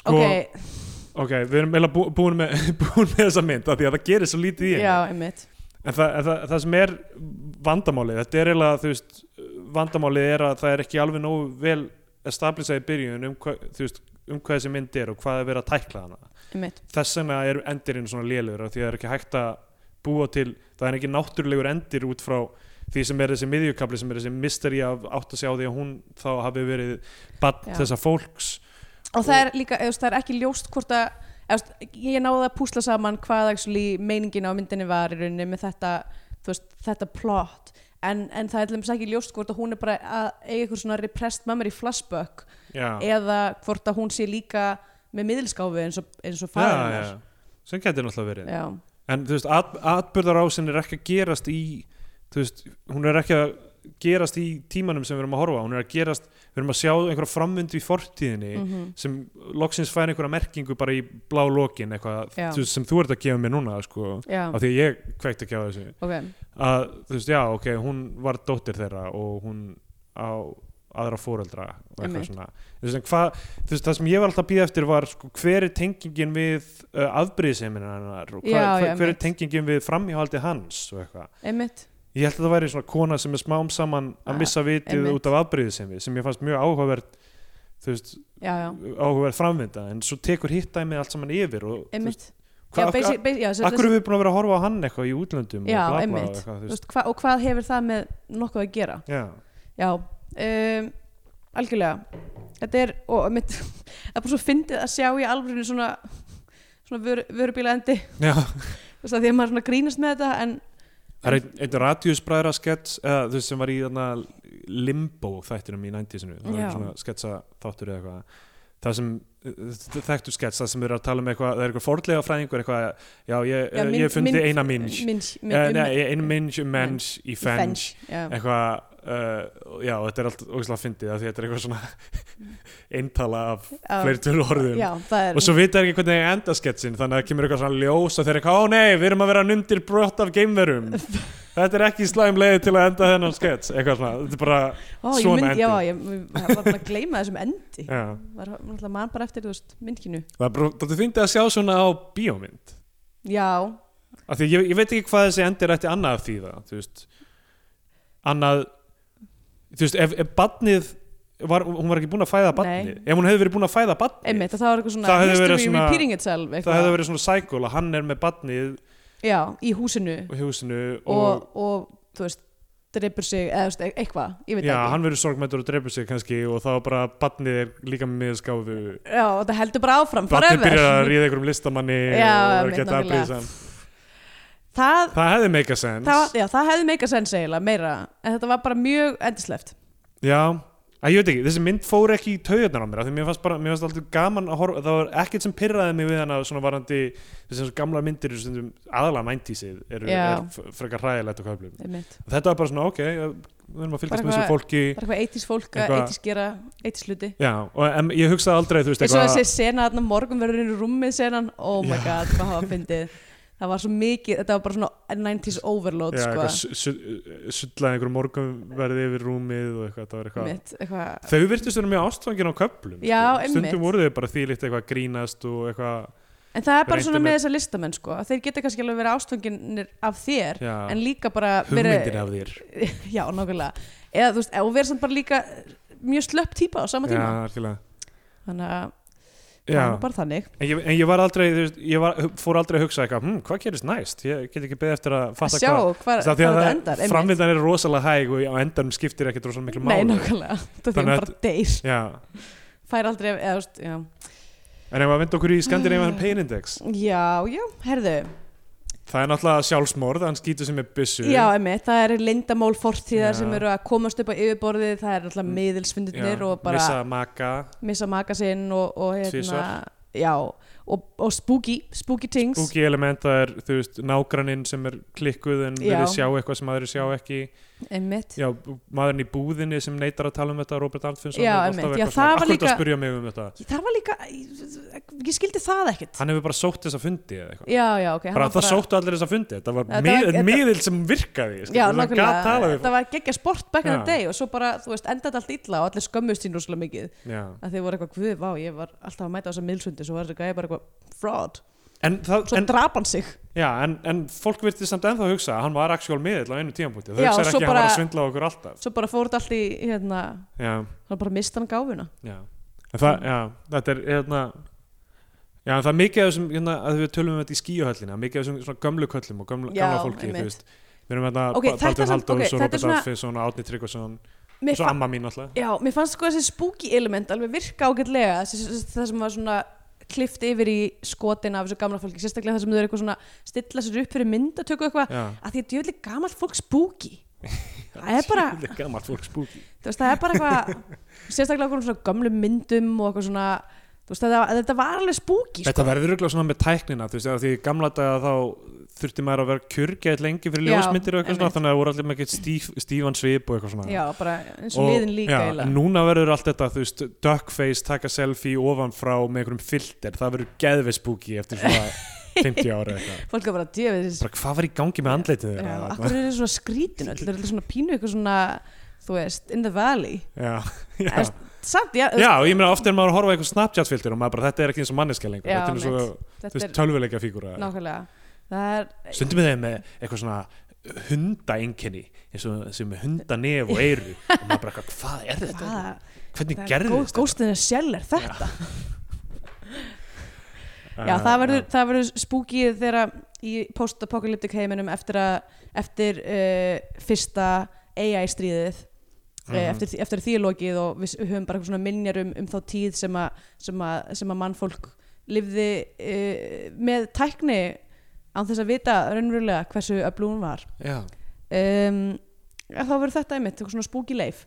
Speaker 4: sko,
Speaker 3: ok
Speaker 4: ok, við erum eiginlega bú, búin, með, búin með þessa mynd af því að það gerir svo lítið í henni
Speaker 3: já, einmitt
Speaker 4: En það, en það, það sem er vandamálið, þetta er eiginlega, þú veist, vandamálið er að það er ekki alveg nógu vel establisað í byrjun um hvað, þú veist, um hvað þessi mynd er og hvað er verið að tækla hana.
Speaker 3: einmitt,
Speaker 4: Þess vegna er endirinn svona lélugur af því að það er ekki hægt að búa til, það er ekki náttúrulegur endir út frá því sem er þessi miðjukabli sem er þessi misteri að átta sig á því að hún þá hafi verið bann
Speaker 3: Já.
Speaker 4: þessa fólks.
Speaker 3: og það er líka, eða, þú veist, það er ekki ljóst hvort að eða, þú veist, ég náði að púsla saman hvað actually, meiningin á myndinni var í rauninni með þetta, þú veist, þetta plot en, en það er til dæmis ekki ljóst hvort að hún er bara að eiga eitthvað svona repressed memory flashback
Speaker 4: Já,
Speaker 3: eða hvort að hún sé líka með miðlskáfi eins og, eins og
Speaker 4: já,
Speaker 3: farin
Speaker 4: já, sem getur náttúrulega verið.
Speaker 3: já,
Speaker 4: en þú veist, at, atbyrðarásin er ekki að gerast í þú veist, hún er ekki að gerast í tímanum sem við erum að horfa á. hún er að gerast, við erum að sjá einhverja framvindu í fortíðinni
Speaker 3: Mhm.
Speaker 4: sem loksins fær einhverja merkingu bara í blá lokin eitthvað,
Speaker 3: Já.
Speaker 4: þú veist, sem þú ert að gefa mér núna sko,
Speaker 3: já,
Speaker 4: af því að ég kveikt ekki á þessu
Speaker 3: ok
Speaker 4: að, þú veist, já, ok, hún var dóttir þeirra og hún á aðra fóreldra og eitthvað
Speaker 3: Einmitt.
Speaker 4: svona þú veist, en hvað, þú veist, það sem ég var alltaf að býða eftir var, sko, hver er tengingin við uh, afbrýðiseiminna hennar og hvað, hver,
Speaker 3: Já, já,
Speaker 4: hver er
Speaker 3: einmitt.
Speaker 4: tengingin við framhjáhaldi hans og eitthvað
Speaker 3: einmitt,
Speaker 4: ég held að það væri svona kona sem er smám saman
Speaker 3: Ah,
Speaker 4: að missa vitið
Speaker 3: einmitt.
Speaker 4: út af afbrýðiseimi sem ég fannst mjög áhugavert þú veist,
Speaker 3: já, já,
Speaker 4: áhugavert framvinda en svo tekur hittæmið allt saman yfir og, þú
Speaker 3: einmitt já,
Speaker 4: hvað,
Speaker 3: basic, basic, já, sem-
Speaker 4: akkur er við búin að vera að horfa á hann eitthvað í útlöndum
Speaker 3: Já,
Speaker 4: og bla, bla,
Speaker 3: einmitt.
Speaker 4: og eitthvað,
Speaker 3: þú
Speaker 4: þú veist,
Speaker 3: veist, hva, og hvað hefur það með nokkuð að gera
Speaker 4: já,
Speaker 3: Já, um, algjörlega Þetta er, og mitt það er bara svo fyndið að sjá í alvörinu svona svona vör, vörubílaendi
Speaker 4: já
Speaker 3: þú veist að því að maður svona grínast með þetta en
Speaker 4: Það er einn- einn radíusbræðra skets uh, þú veist sem var í þarna limbo þættinum í 90-sinu það
Speaker 3: Já.
Speaker 4: var svona sketsa þáttur eða eitthvað það sem eh, þekktu skets það sem eru að tala um eitthvað, það er eitthvað fordlega fræðingur eitthvað, já Eh, ég, já,
Speaker 3: Já, minn-
Speaker 4: ég fundi
Speaker 3: minn-
Speaker 4: eina minns
Speaker 3: minns, min,
Speaker 4: Eh, nei, eina minns, menns, í fens
Speaker 3: já,
Speaker 4: eitthvað, uh, já þetta er allt ógæslega fyndið af því þetta er eitthvað svona eintala af
Speaker 3: Já.
Speaker 4: fleirtur orðum
Speaker 3: já, það er
Speaker 4: og svo vita þeir ekki hvernig enda sketsin þannig að það kemur eitthvað svona ljós og þeir eru eitthvað, ó nei, við erum að vera nundir brott af geimverum þetta er ekki slæm leiði til að enda þennan skets eitthvað svona, þetta er bara
Speaker 3: ó, ég
Speaker 4: svona um
Speaker 3: mynd,
Speaker 4: endi. Eh.
Speaker 3: já, ég, ég var bara að gleyma þessum endi
Speaker 4: já.
Speaker 3: var náttúrulega mann bara eftir, þú veist, myndkinu
Speaker 4: það er bara, þetta fyndi að sjá svona á bíómynd
Speaker 3: já,
Speaker 4: af því ég, ég veit ekki hvað þessi endir ætti annað að þýða þú veist annað, þú veist, ef, ef badnið var, hún var ekki búin að fæða badnið ef hún hefði verið búin að fæða badnið
Speaker 3: einmitt, það var eitthvað svona
Speaker 4: Það hefði verið
Speaker 3: history
Speaker 4: svona-
Speaker 3: repeating itself
Speaker 4: það
Speaker 3: eitthvað.
Speaker 4: hefði verið svona sækul að hann er með badnið
Speaker 3: já, í húsinu
Speaker 4: og húsinu og
Speaker 3: og, og þú veist dreipur sig, eða þú veist, e- eitthvað, ég veit
Speaker 4: Já,
Speaker 3: ekki
Speaker 4: hann verður sorgmættur og dreipur sig kannski og þá bara barnið er líka með miðskáfu
Speaker 3: Já, og það heldur bara áfram
Speaker 4: Barnið
Speaker 3: forever.
Speaker 4: byrjar að ríða einhverjum listamanni
Speaker 3: Já,
Speaker 4: og verður
Speaker 3: einmitt,
Speaker 4: gett
Speaker 3: nákvæmlega.
Speaker 4: aðbrýðisam
Speaker 3: það,
Speaker 4: það hefði make a sense
Speaker 3: það, já, það hefði meika sens eiginlega meira en þetta var bara mjög endisleft
Speaker 4: já, að ég veit ekki, þessi mynd fór ekki í taugarnar á mér af því mér fannst bara, mér fannst alltaf gaman að horfa það var ekkert sem pyrraði mig við hana svona varandi þessi gamla myndir eru stundum aðalega mæntísið eru
Speaker 3: Já.
Speaker 4: er f- frekar hræðilegt og köflum
Speaker 3: einmitt.
Speaker 4: þetta var bara svona, ok, við erum að
Speaker 3: Bara
Speaker 4: fylgjast með þessu fólki
Speaker 3: bara eitthvað 80s fólk að
Speaker 4: Eitthvað-
Speaker 3: 80s gera 80s hluti
Speaker 4: já, og em, ég hugsaði aldrei, þú veist,
Speaker 3: eins og
Speaker 4: eitthvað
Speaker 3: þessi sena þarna morgunverðurinn í rúmið senan oh my god, hvað hafa fyndið það var svo mikið, þetta var bara svona 90s overload
Speaker 4: já,
Speaker 3: sko,
Speaker 4: eitthvað su- su- sullaði einhver morgunverði yfir rúmið og eitthvað, það var eitthvað
Speaker 3: mitt, eitthvað
Speaker 4: Þau virtist vera mjög ástfangin á köflum
Speaker 3: Já,
Speaker 4: sko.
Speaker 3: einmitt.
Speaker 4: Stundum voru þau bara þýlitt eitthvað að grínast og eitthvað
Speaker 3: en það er bara
Speaker 4: Reyndi
Speaker 3: svona með
Speaker 4: með-
Speaker 3: þessa listamenn sko, að þeir geta kannski alveg verið ástfanginir af þér
Speaker 4: já,
Speaker 3: en líka bara
Speaker 4: hugmyndin af þér
Speaker 3: já, nákvæmlega Eða, þú veist, og verið samt bara líka mjög slöpp típa á sama
Speaker 4: Já,
Speaker 3: tíma
Speaker 4: algjörlega
Speaker 3: þannig að það
Speaker 4: Já,
Speaker 3: er nú bara þannig
Speaker 4: en ég, en ég var aldrei, þú veist, ég var, fór aldrei að hugsa eitthvað, hm, hvað gerist næst? Ég get ekki beðið eftir að fatta
Speaker 3: sjá
Speaker 4: hvað
Speaker 3: hvað
Speaker 4: Það því að
Speaker 3: þetta
Speaker 4: það-
Speaker 3: endar einmitt.
Speaker 4: framvindan er rosalega hæg og á endanum skiptir ekkert rosalega miklu
Speaker 3: nei,
Speaker 4: máli
Speaker 3: nákvæmlega, það því
Speaker 4: Þannig
Speaker 3: að
Speaker 4: að-
Speaker 3: hann bara deyr
Speaker 4: Já,
Speaker 3: fær aldrei, eða, þú veist, já
Speaker 4: en ef að vinda okkur í Scandinavian Pain Index
Speaker 3: Já, já, herðu
Speaker 4: Það er náttúrulega sjálfsmorð, hann skýtur sem er byssu
Speaker 3: Já, emmitt, það eru lindamál fortíðar
Speaker 4: Já. Mm.
Speaker 3: sem eru að komast upp á yfirborðið það eru alltaf miðilsfundurnir og bara missa,
Speaker 4: Missa maka
Speaker 3: maka sinn og, og hérna
Speaker 4: Tvisvar.
Speaker 3: Já, og, og spooky, spooky things
Speaker 4: Spooky elementa er, þú veist, nágranninn sem er klikkuð en
Speaker 3: Já.
Speaker 4: verið sjá eitthvað sem aðri sjá ekki
Speaker 3: Emmitt,
Speaker 4: Já, maðurinn í búðinni sem neytar að tala um þetta Robert Altfinsson
Speaker 3: Já,
Speaker 4: er alltaf
Speaker 3: einmitt.
Speaker 4: eitthvað
Speaker 3: Já,
Speaker 4: svona,
Speaker 3: það var
Speaker 4: "Af hverju ertu
Speaker 3: líka-
Speaker 4: að spyrja mig um þetta
Speaker 3: það var líka ég, ég skildi það ekkit
Speaker 4: Hann hefur bara sótt þess að fundi eða eitthvað
Speaker 3: Já, já, ok hann
Speaker 4: bara,
Speaker 3: var
Speaker 4: Það sóttu allir þess að fundi, þetta var
Speaker 3: Þetta
Speaker 4: mið,
Speaker 3: var- þetta-
Speaker 4: miðil sem virkaði skilur,
Speaker 3: Já,
Speaker 4: það gat
Speaker 3: nákvæmlega,
Speaker 4: talað við
Speaker 3: þetta var geggja sport back in the
Speaker 4: Já.
Speaker 3: day og svo bara, þú veist, endaði allt illa og allir skömmust sín rosalega mikið
Speaker 4: fólk. Já.
Speaker 3: að þeir voru eitthvað, guð, vá, ég var alltaf að mæta á þessa miðilsundi, svo var þessi gæði bara eitthvað fraud,
Speaker 4: En, það,
Speaker 3: svo
Speaker 4: en,
Speaker 3: drap hann sig
Speaker 4: já, en, en fólk virti samt ennþá að hugsa að hann var actual miðil á einu tímanbúti það
Speaker 3: Já,
Speaker 4: hugsaði
Speaker 3: svo
Speaker 4: ekki að hann var
Speaker 3: bara-
Speaker 4: að svindla á okkur alltaf
Speaker 3: svo bara fór þetta allt í hérna,
Speaker 4: Já,
Speaker 3: hann bara mista hann gáfuna
Speaker 4: já, En það, já þetta er hérna Já, en það er mikið af þessum, hérna, að við tölum um þetta í skíuhöllina, mikið af þessum svona gömlu köllum og gömlu,
Speaker 3: Já,
Speaker 4: gamla fólki,
Speaker 3: einmitt.
Speaker 4: þú veist, við erum hérna
Speaker 3: Ok,
Speaker 4: okay,
Speaker 3: þetta
Speaker 4: Baldur
Speaker 3: samt- ok,
Speaker 4: Halldórs
Speaker 3: þetta
Speaker 4: og
Speaker 3: er
Speaker 4: Robert
Speaker 3: svona-
Speaker 4: Alfinsson og Átni Tryggvason,
Speaker 3: mér,
Speaker 4: svo amma mín alltaf.
Speaker 3: já, mér fannst sko þessi spooky element alveg virka ágætlega þessi- þessi- það sem var svona klift yfir í skotin af þessu gamla fólki sérstaklega það sem þau eru eitthvað svona stilla sér upp fyrir myndatöku og eitthvað
Speaker 4: Já,
Speaker 3: að því að djöfli gamalt fólk spooky það er bara,
Speaker 4: Þetta er gammalt fólk spúki.
Speaker 3: þú veist, það er bara eitthvað sérstaklega okkur um svona gömlum myndum og eitthvað svona, þú veist, þetta, þetta var alveg spooky sko.
Speaker 4: Þetta verður auðvitað svona með tæknina, þú veist, af því í gamla daga þá þurfti maður að vera kjörgæð lengi fyrir
Speaker 3: Já,
Speaker 4: ljósmyndir og eitthvað svona,
Speaker 3: einmitt.
Speaker 4: þannig að það voru allir með eitthvað stíf, stífan svip og eitthvað svona.
Speaker 3: já, bara eins og liðin líka
Speaker 4: já,
Speaker 3: eiginlega.
Speaker 4: en núna verður allt þetta, þú veist, duckface, taka selfie ofanfrá með einhverjum filter, það verður geðveispúki eftir svona 50 ára eitthvað.
Speaker 3: fólk er bara djöfið þessi
Speaker 4: bara hvað var í gangi með andleitið
Speaker 3: Já,
Speaker 4: þeirra
Speaker 3: akkur er þetta svona skrítin öll, þetta er svona pínu eitthvað svona, þú veist, in the valley.
Speaker 4: já, já.
Speaker 3: En samt, já,
Speaker 4: já, ég meina ofta er maður að horfa á eitthvað Snapchat-filter og maður bara, þetta er ekki eins og manneska lengur
Speaker 3: Já,
Speaker 4: þetta er eins og, þú
Speaker 3: þetta
Speaker 4: veist,
Speaker 3: er
Speaker 4: tölvuleika fígúra
Speaker 3: nákvæmlega. Það er,
Speaker 4: stundum við þeim með eitthvað svona hundaeinkenni, eins og sem með hundanef og eyru og maður bara, eitthvað, hvað er þetta?
Speaker 3: hvaða,
Speaker 4: Hvernig
Speaker 3: það er
Speaker 4: gerðist þetta?
Speaker 3: góðstinn að sjell er þetta. Já, það verður, það verður spúkið þegar í post-apocalyptic heiminum eftir að, eftir uh, fyrsta AI-stríðið, mm
Speaker 4: Mhm.
Speaker 3: eftir, því- eftir því er lokið og við s- við höfum bara eitthvað svona minjar um, um þá tíð sem að, sem að, sem að mannfólk lifði uh, með tækni án þess að vita raunverulega hversu öflú hún var
Speaker 4: já,
Speaker 3: um, ja, þá verður þetta einmitt eitthvað svona spooky leif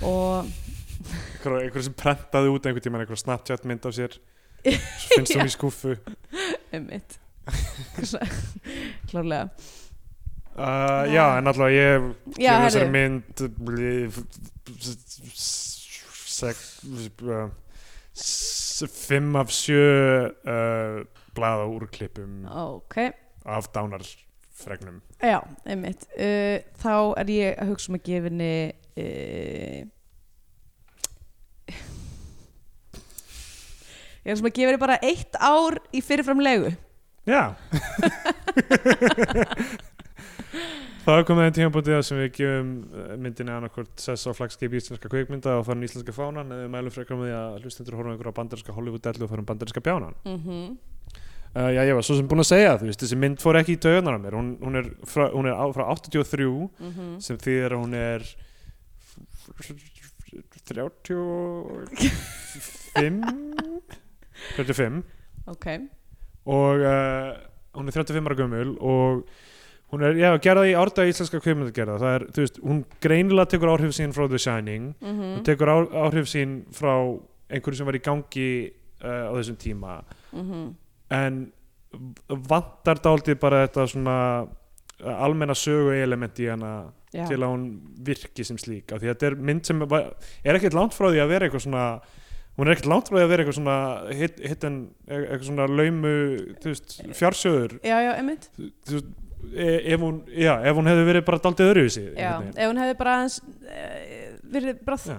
Speaker 3: og
Speaker 4: einhver, einhver sem prentaði út einhvern tímann einhver Snapchat mynd af sér svo finnst
Speaker 3: Já.
Speaker 4: hún í skúffu uh,
Speaker 3: einmitt klárlega
Speaker 4: Uh, já, en alltaf ég
Speaker 3: já,
Speaker 4: gefur þessari
Speaker 3: herru,
Speaker 4: mynd eh, blif, sek, uh, s- eh, fimm af sjö uh, blaða úrklippum
Speaker 3: ok
Speaker 4: af dánarfregnum
Speaker 3: já, einmitt uh, þá er ég að hugsa um að gefa henni uh, ég er sem að gefa henni bara eitt ár í fyrirframlegu
Speaker 4: já þá er komið einn tímabútið sem við gefum eh, myndinni annarkvort sess á flagskip íslenska kveikmynda og farum íslenska fánan eða við mælum frekar með því að hlustendur horfum einhverja bandarinska Hollywood-dellu og farum bandarinska bjánan
Speaker 3: mm -hmm.
Speaker 4: Uh, já, ég var svo sem búin að segja, þú veist, þessi mynd fór ekki í döðunar á mér, hún, hún er, frá, hún er á, frá 83
Speaker 3: mhm.
Speaker 4: sem þýðir að hún er 35 35
Speaker 3: ok
Speaker 4: og uh, hún er 35 ára gömul og hún er, já, gerða í árdaga íslenska kveikmyndagerða, það er, þú veist, hún greinilega tekur áhrif sín frá The Shining
Speaker 3: Mhm.
Speaker 4: hún tekur á, áhrif sín frá einhverju sem var í gangi uh, á þessum tíma
Speaker 3: Mhm.
Speaker 4: en vantar dálítið bara þetta svona uh, almenna sögu element í hana
Speaker 3: Já.
Speaker 4: til að hún virki sem slík af því að þetta er mynd sem var, er ekkert langt frá því að vera eitthvað svona hún er ekkert langt frá því að vera eitthvað svona hit, hit en, eitthvað svona laumu þú veist, fjársöður
Speaker 3: já, já, einmitt
Speaker 4: Þú veist, e, ef, hún, já, ef hún hefði verið bara daldið öðruvísi
Speaker 3: já,
Speaker 4: einhvern veginn.
Speaker 3: ef hún hefði bara aðeins eh, verið bara
Speaker 4: Já.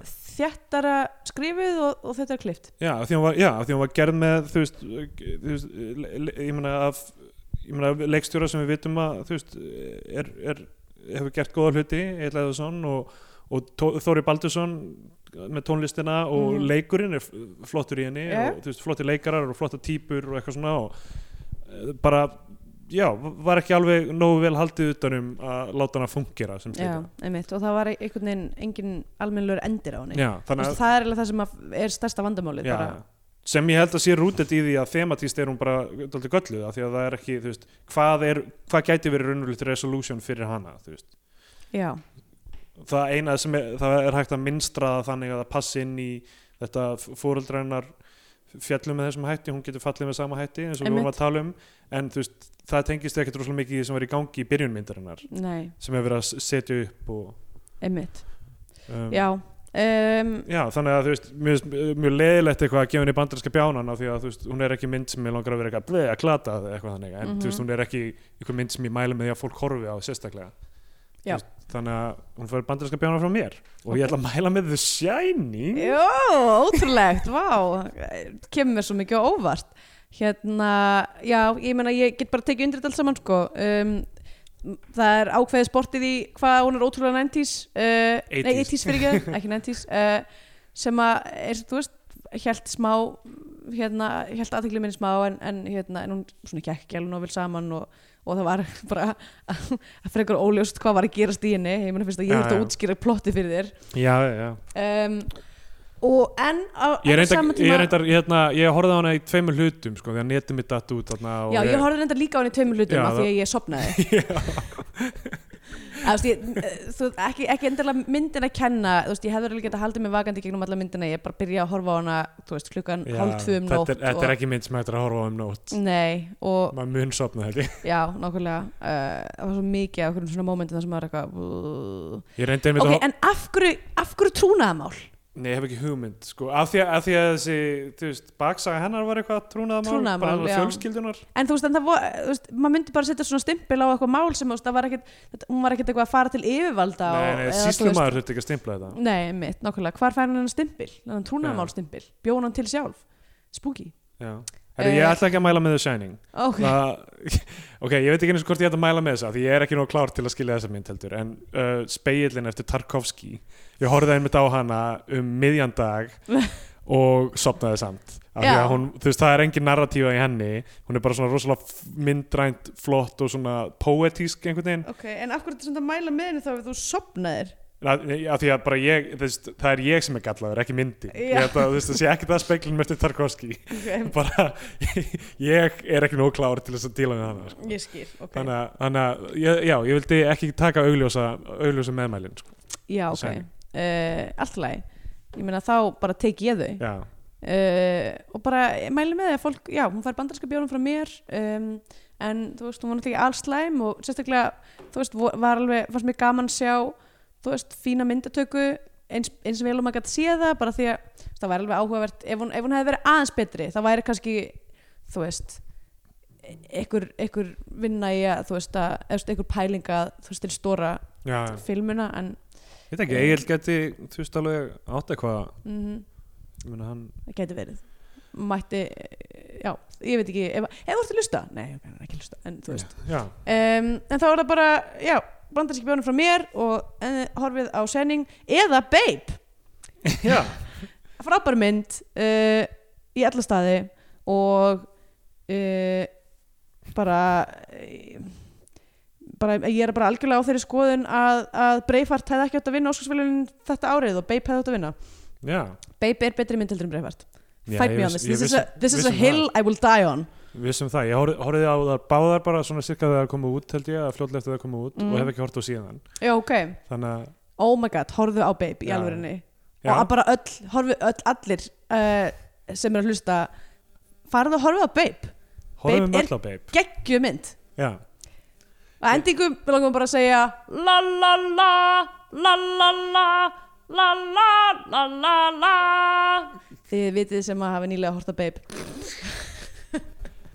Speaker 3: þjættara skrifuð og, og þetta er klift
Speaker 4: Já, af því hún var, já, af því hún var gerð með þú veist, uh, þú veist le, le, ég meina af ég meina leikstjóra sem við vitum að þú veist, er, er hefur gert góða hluti, Eil Eðarsson og, og Tó- Þóri Baldursson með tónlistina og
Speaker 3: Mhm.
Speaker 4: leikurinn er f- flottur í henni
Speaker 3: Já.
Speaker 4: og, þú veist, flotti leikarar og flotta típur og eitthvað svona og eh, bara, já, var ekki alveg nógu vel haldið utanum að láta hana fungera sem
Speaker 3: já,
Speaker 4: slíka.
Speaker 3: einmitt, og það var einhvern veginn engin almennlur endir á henni
Speaker 4: Já,
Speaker 3: Þú
Speaker 4: þannig
Speaker 3: veist, það er alveg það sem að er stærsta vandamálið
Speaker 4: Já,
Speaker 3: bara,
Speaker 4: já. sem ég held að sé rútet í því að thematíst er hún bara dálítið gölluð af því að það er ekki, þú veist, hvað er hvað gæti verið raunverulegt resolution fyrir hana þú veist,
Speaker 3: já,
Speaker 4: það eina sem er, það er hægt að minstra það þannig að það passi inn í þetta fóreldrennar fjallum með þessum hætti, hún getur fallið með sama hætti eins og við vorum
Speaker 3: Einmitt.
Speaker 4: að tala um en þú veist, það tengist ekkert rosalega mikið í því sem var í gangi í byrjunmyndarinnar
Speaker 3: nei,
Speaker 4: sem hefur verið að setja upp og,
Speaker 3: einmitt
Speaker 4: um,
Speaker 3: já, um,
Speaker 4: Já, þannig að þú veist, mjög, mjög leðilegt eitthvað að gefa henni bandarinska bjánan af því að þú veist, hún er ekki mynd sem ég langar að vera eitthvað bleið að klata eða eitthvað þannig, en
Speaker 3: Mhm.
Speaker 4: þú veist, hún er ekki eitthvað mynd sem ég mæli með því að fólk horfi á sérstaklega Þú
Speaker 3: Já.
Speaker 4: veist, Þannig að hún fær bandarinska bjánan frá mér og
Speaker 3: Ok.
Speaker 4: ég ætla að mæla með The Shining
Speaker 3: Jó, ótrúlegt, vá kemur mér svo mikið á óvart hérna, já, ég meina ég get bara tekið undir þetta allt saman sko um, það er ákveðið sportið í hvað hún er ótrúlega 90s uh,
Speaker 4: 80s.
Speaker 3: nei, 80s fyrir ekki, ekki 90s uh, sem að, er, þú veist, hjælt smá hérna, hjælt aðtekli minni smá en, en, hérna, en hún svona gekk ekki alveg nóvel saman og, og það var bara að frekar óljóst hvað var að gerast í henni ég meina fyrst að ég
Speaker 4: Já,
Speaker 3: þurfti
Speaker 4: já.
Speaker 3: að útskýra plotti fyrir þér
Speaker 4: Já, já, já
Speaker 3: um, og en á,
Speaker 4: Ég
Speaker 3: á
Speaker 4: reyndar,
Speaker 3: sama
Speaker 4: ég reyndar, ég, hérna, ég horfði á hana í tveimur hlutum, sko, því að netið mitt datt út þarna og
Speaker 3: já, ég horfði reyndar líka á henni í tveimur hlutum
Speaker 4: Já,
Speaker 3: af því að ég sopnaði Eða, þú veist, ég, eh, þú, veist, ekki, ekki endilega myndin að kenna þú veist, ég hefði alveg getað haldið mig vakandi í gegnum alla myndina ég bara byrja að horfa á hana þú veist, klukkan
Speaker 4: Já,
Speaker 3: hálf tvö um
Speaker 4: þetta
Speaker 3: nótt Mm.
Speaker 4: er, Þetta er ekki mynd sem hægt er að horfa á um nótt
Speaker 3: nei, og
Speaker 4: Maður mun sopna þetta
Speaker 3: já, nákvæmlega uh, það var svo mikið af hverjum svona mómentum þar sem maður er eitthvað
Speaker 4: Ég reyndi einmitt að
Speaker 3: ok, en af hverju, af hverju trúnaðamál
Speaker 4: Nei, ég hef ekki hugmynd, sko, af því að, af því að þessi, þú veist, baksaga hennar var eitthvað trúnaðamál,
Speaker 3: Trúnaðarmál,
Speaker 4: bara hennar
Speaker 3: já.
Speaker 4: fjölskyldunar.
Speaker 3: en þú veist, en það vo- þú veist, maður myndi bara setja svona stimpil á eitthvað mál sem, þú veist, það var ekkit þetta- hún var ekkit eitthvað að fara til yfirvalda
Speaker 4: nei,
Speaker 3: og-
Speaker 4: nei,
Speaker 3: eða, þú veist-
Speaker 4: síslumaður þurfti ekki að stimpla þetta.
Speaker 3: Nei, mitt, nákvæmlega, hvar fær hann hennar stimpil? Hann trúnaðamál stimpil, bjóð hann til sjálf Spooky
Speaker 4: Já. Herri, ég
Speaker 3: Eh.
Speaker 4: ætla ekki að mæla með The Shining.
Speaker 3: Ok,
Speaker 4: Það, ok, ég veit ekki eins og hvort ég ætla að mæla með þessa, því ég er ekki nóg klár til að skilja þessa mynd heldur, en uh, speillin eftir Tarkovski, ég horfði einmitt á hana um miðjandag og sopnaði samt. Af því
Speaker 3: Já.
Speaker 4: að Hún, þú veist, það er engin narratífa í henni, hún er bara svona rosalega f- myndrænt, flott og svona poetísk einhvern veginn.
Speaker 3: ok, en af hverju þetta samt að mæla með henni þá ef þú sopnaðir?
Speaker 4: Af af því að bara ég, þú veist, það er ég sem er gallaður, ekki myndin.
Speaker 3: Já.
Speaker 4: Ég held að, þú veist, það sé ekki það speklun mértir Tarkovski.
Speaker 3: Ok,
Speaker 4: Bara, ég er ekki nóg klár til þess að díla með hana. Sko.
Speaker 3: ég skil, ok
Speaker 4: Þannig að, þannig að, ég- já, ég vildi ekki taka augljósa, augljósa meðmælin, sko.
Speaker 3: Já, ok,
Speaker 4: Sæmi.
Speaker 3: uh, allt í lagi Ég meina þá bara teki ég þau
Speaker 4: Já,
Speaker 3: uh, og bara ég mæli með því að fólk, já, hún fær bandarska bjónum frá mér um, en þú veist, hún var náttúrulega ekki alls slæm og sérstaklega, þú veist, vo- var alveg, fannst mér gaman að sjá, þú veist, fína myndatöku eins, eins og vel og maður gæti séð það bara því að þú veist, það væri alveg áhugavert ef hún, ef hún hefði verið aðeins betri, það væri kannski þú veist e- einhver, einhver vinna í að þú veist að, eða þú veist, einhver pælinga þú veist, til stóra
Speaker 4: já,
Speaker 3: filmuna en
Speaker 4: ég veit ekki, Egil geti, þú veist, alveg átt eitthvað,
Speaker 3: mm
Speaker 4: ég meina hann,
Speaker 3: það gæti verið mætti, já, ég veit ekki ef, ef þú ert að lusta, nei, ok, hann er ekki að lusta en þú veist,
Speaker 4: já,
Speaker 3: um, en þá er það bara já, brandarski bjónum frá mér og uh, horfið á sending eða Babe,
Speaker 4: já,
Speaker 3: frábær mynd uh, í alla staði og uh, bara eh, bara, ég er bara algjörlega á þeirri skoðun að, að Breifart hefði ekki átt að vinna Óskarsvelunin þetta árið og Babe hefði átt að vinna
Speaker 4: já.
Speaker 3: Babe er betri mynd heldur en Breifart
Speaker 4: Já,
Speaker 3: Fight
Speaker 4: ég
Speaker 3: me on
Speaker 4: viss- ég
Speaker 3: this. This is
Speaker 4: vissi-
Speaker 3: a, this is
Speaker 4: vissi
Speaker 3: a
Speaker 4: um
Speaker 3: hill I will die on.
Speaker 4: vissum það, ég horfði, horfði á það báðar bara svona cirka þegar það komu út held ég að fljótlega eftir það komu út
Speaker 3: Mm.
Speaker 4: og hef ekki hort á síðan
Speaker 3: já, ok,
Speaker 4: þannig að,
Speaker 3: oh my god, horfðu á Babe í
Speaker 4: Já.
Speaker 3: alvörinni
Speaker 4: já,
Speaker 3: og að bara öll, horfi öll allir uh, sem eru að hlusta farðu að horfa á Babe,
Speaker 4: horfðum
Speaker 3: Babe
Speaker 4: við
Speaker 3: er-
Speaker 4: öll á Babe
Speaker 3: geggjum mynd
Speaker 4: já,
Speaker 3: að endingum við langum bara að segja la la la la la la la la la la la þið vitið sem að hafa nýlega horta Babe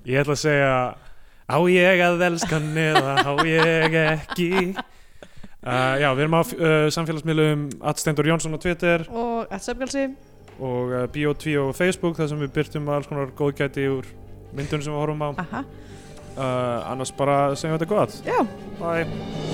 Speaker 4: ég ætla að segja á ég að elskan eða á ég ekki uh, já, við erum á uh, samfélagsmiðlum Atstendur Jónsson á Twitter
Speaker 3: og að söfgalsi
Speaker 4: og uh, Bio2 og Facebook þar sem við byrtum alls konar góðgæti úr
Speaker 3: Ah.
Speaker 4: myndunum sem við horfum á
Speaker 3: aha,
Speaker 4: uh, annars bara segjum við þetta gott,
Speaker 3: já
Speaker 4: bye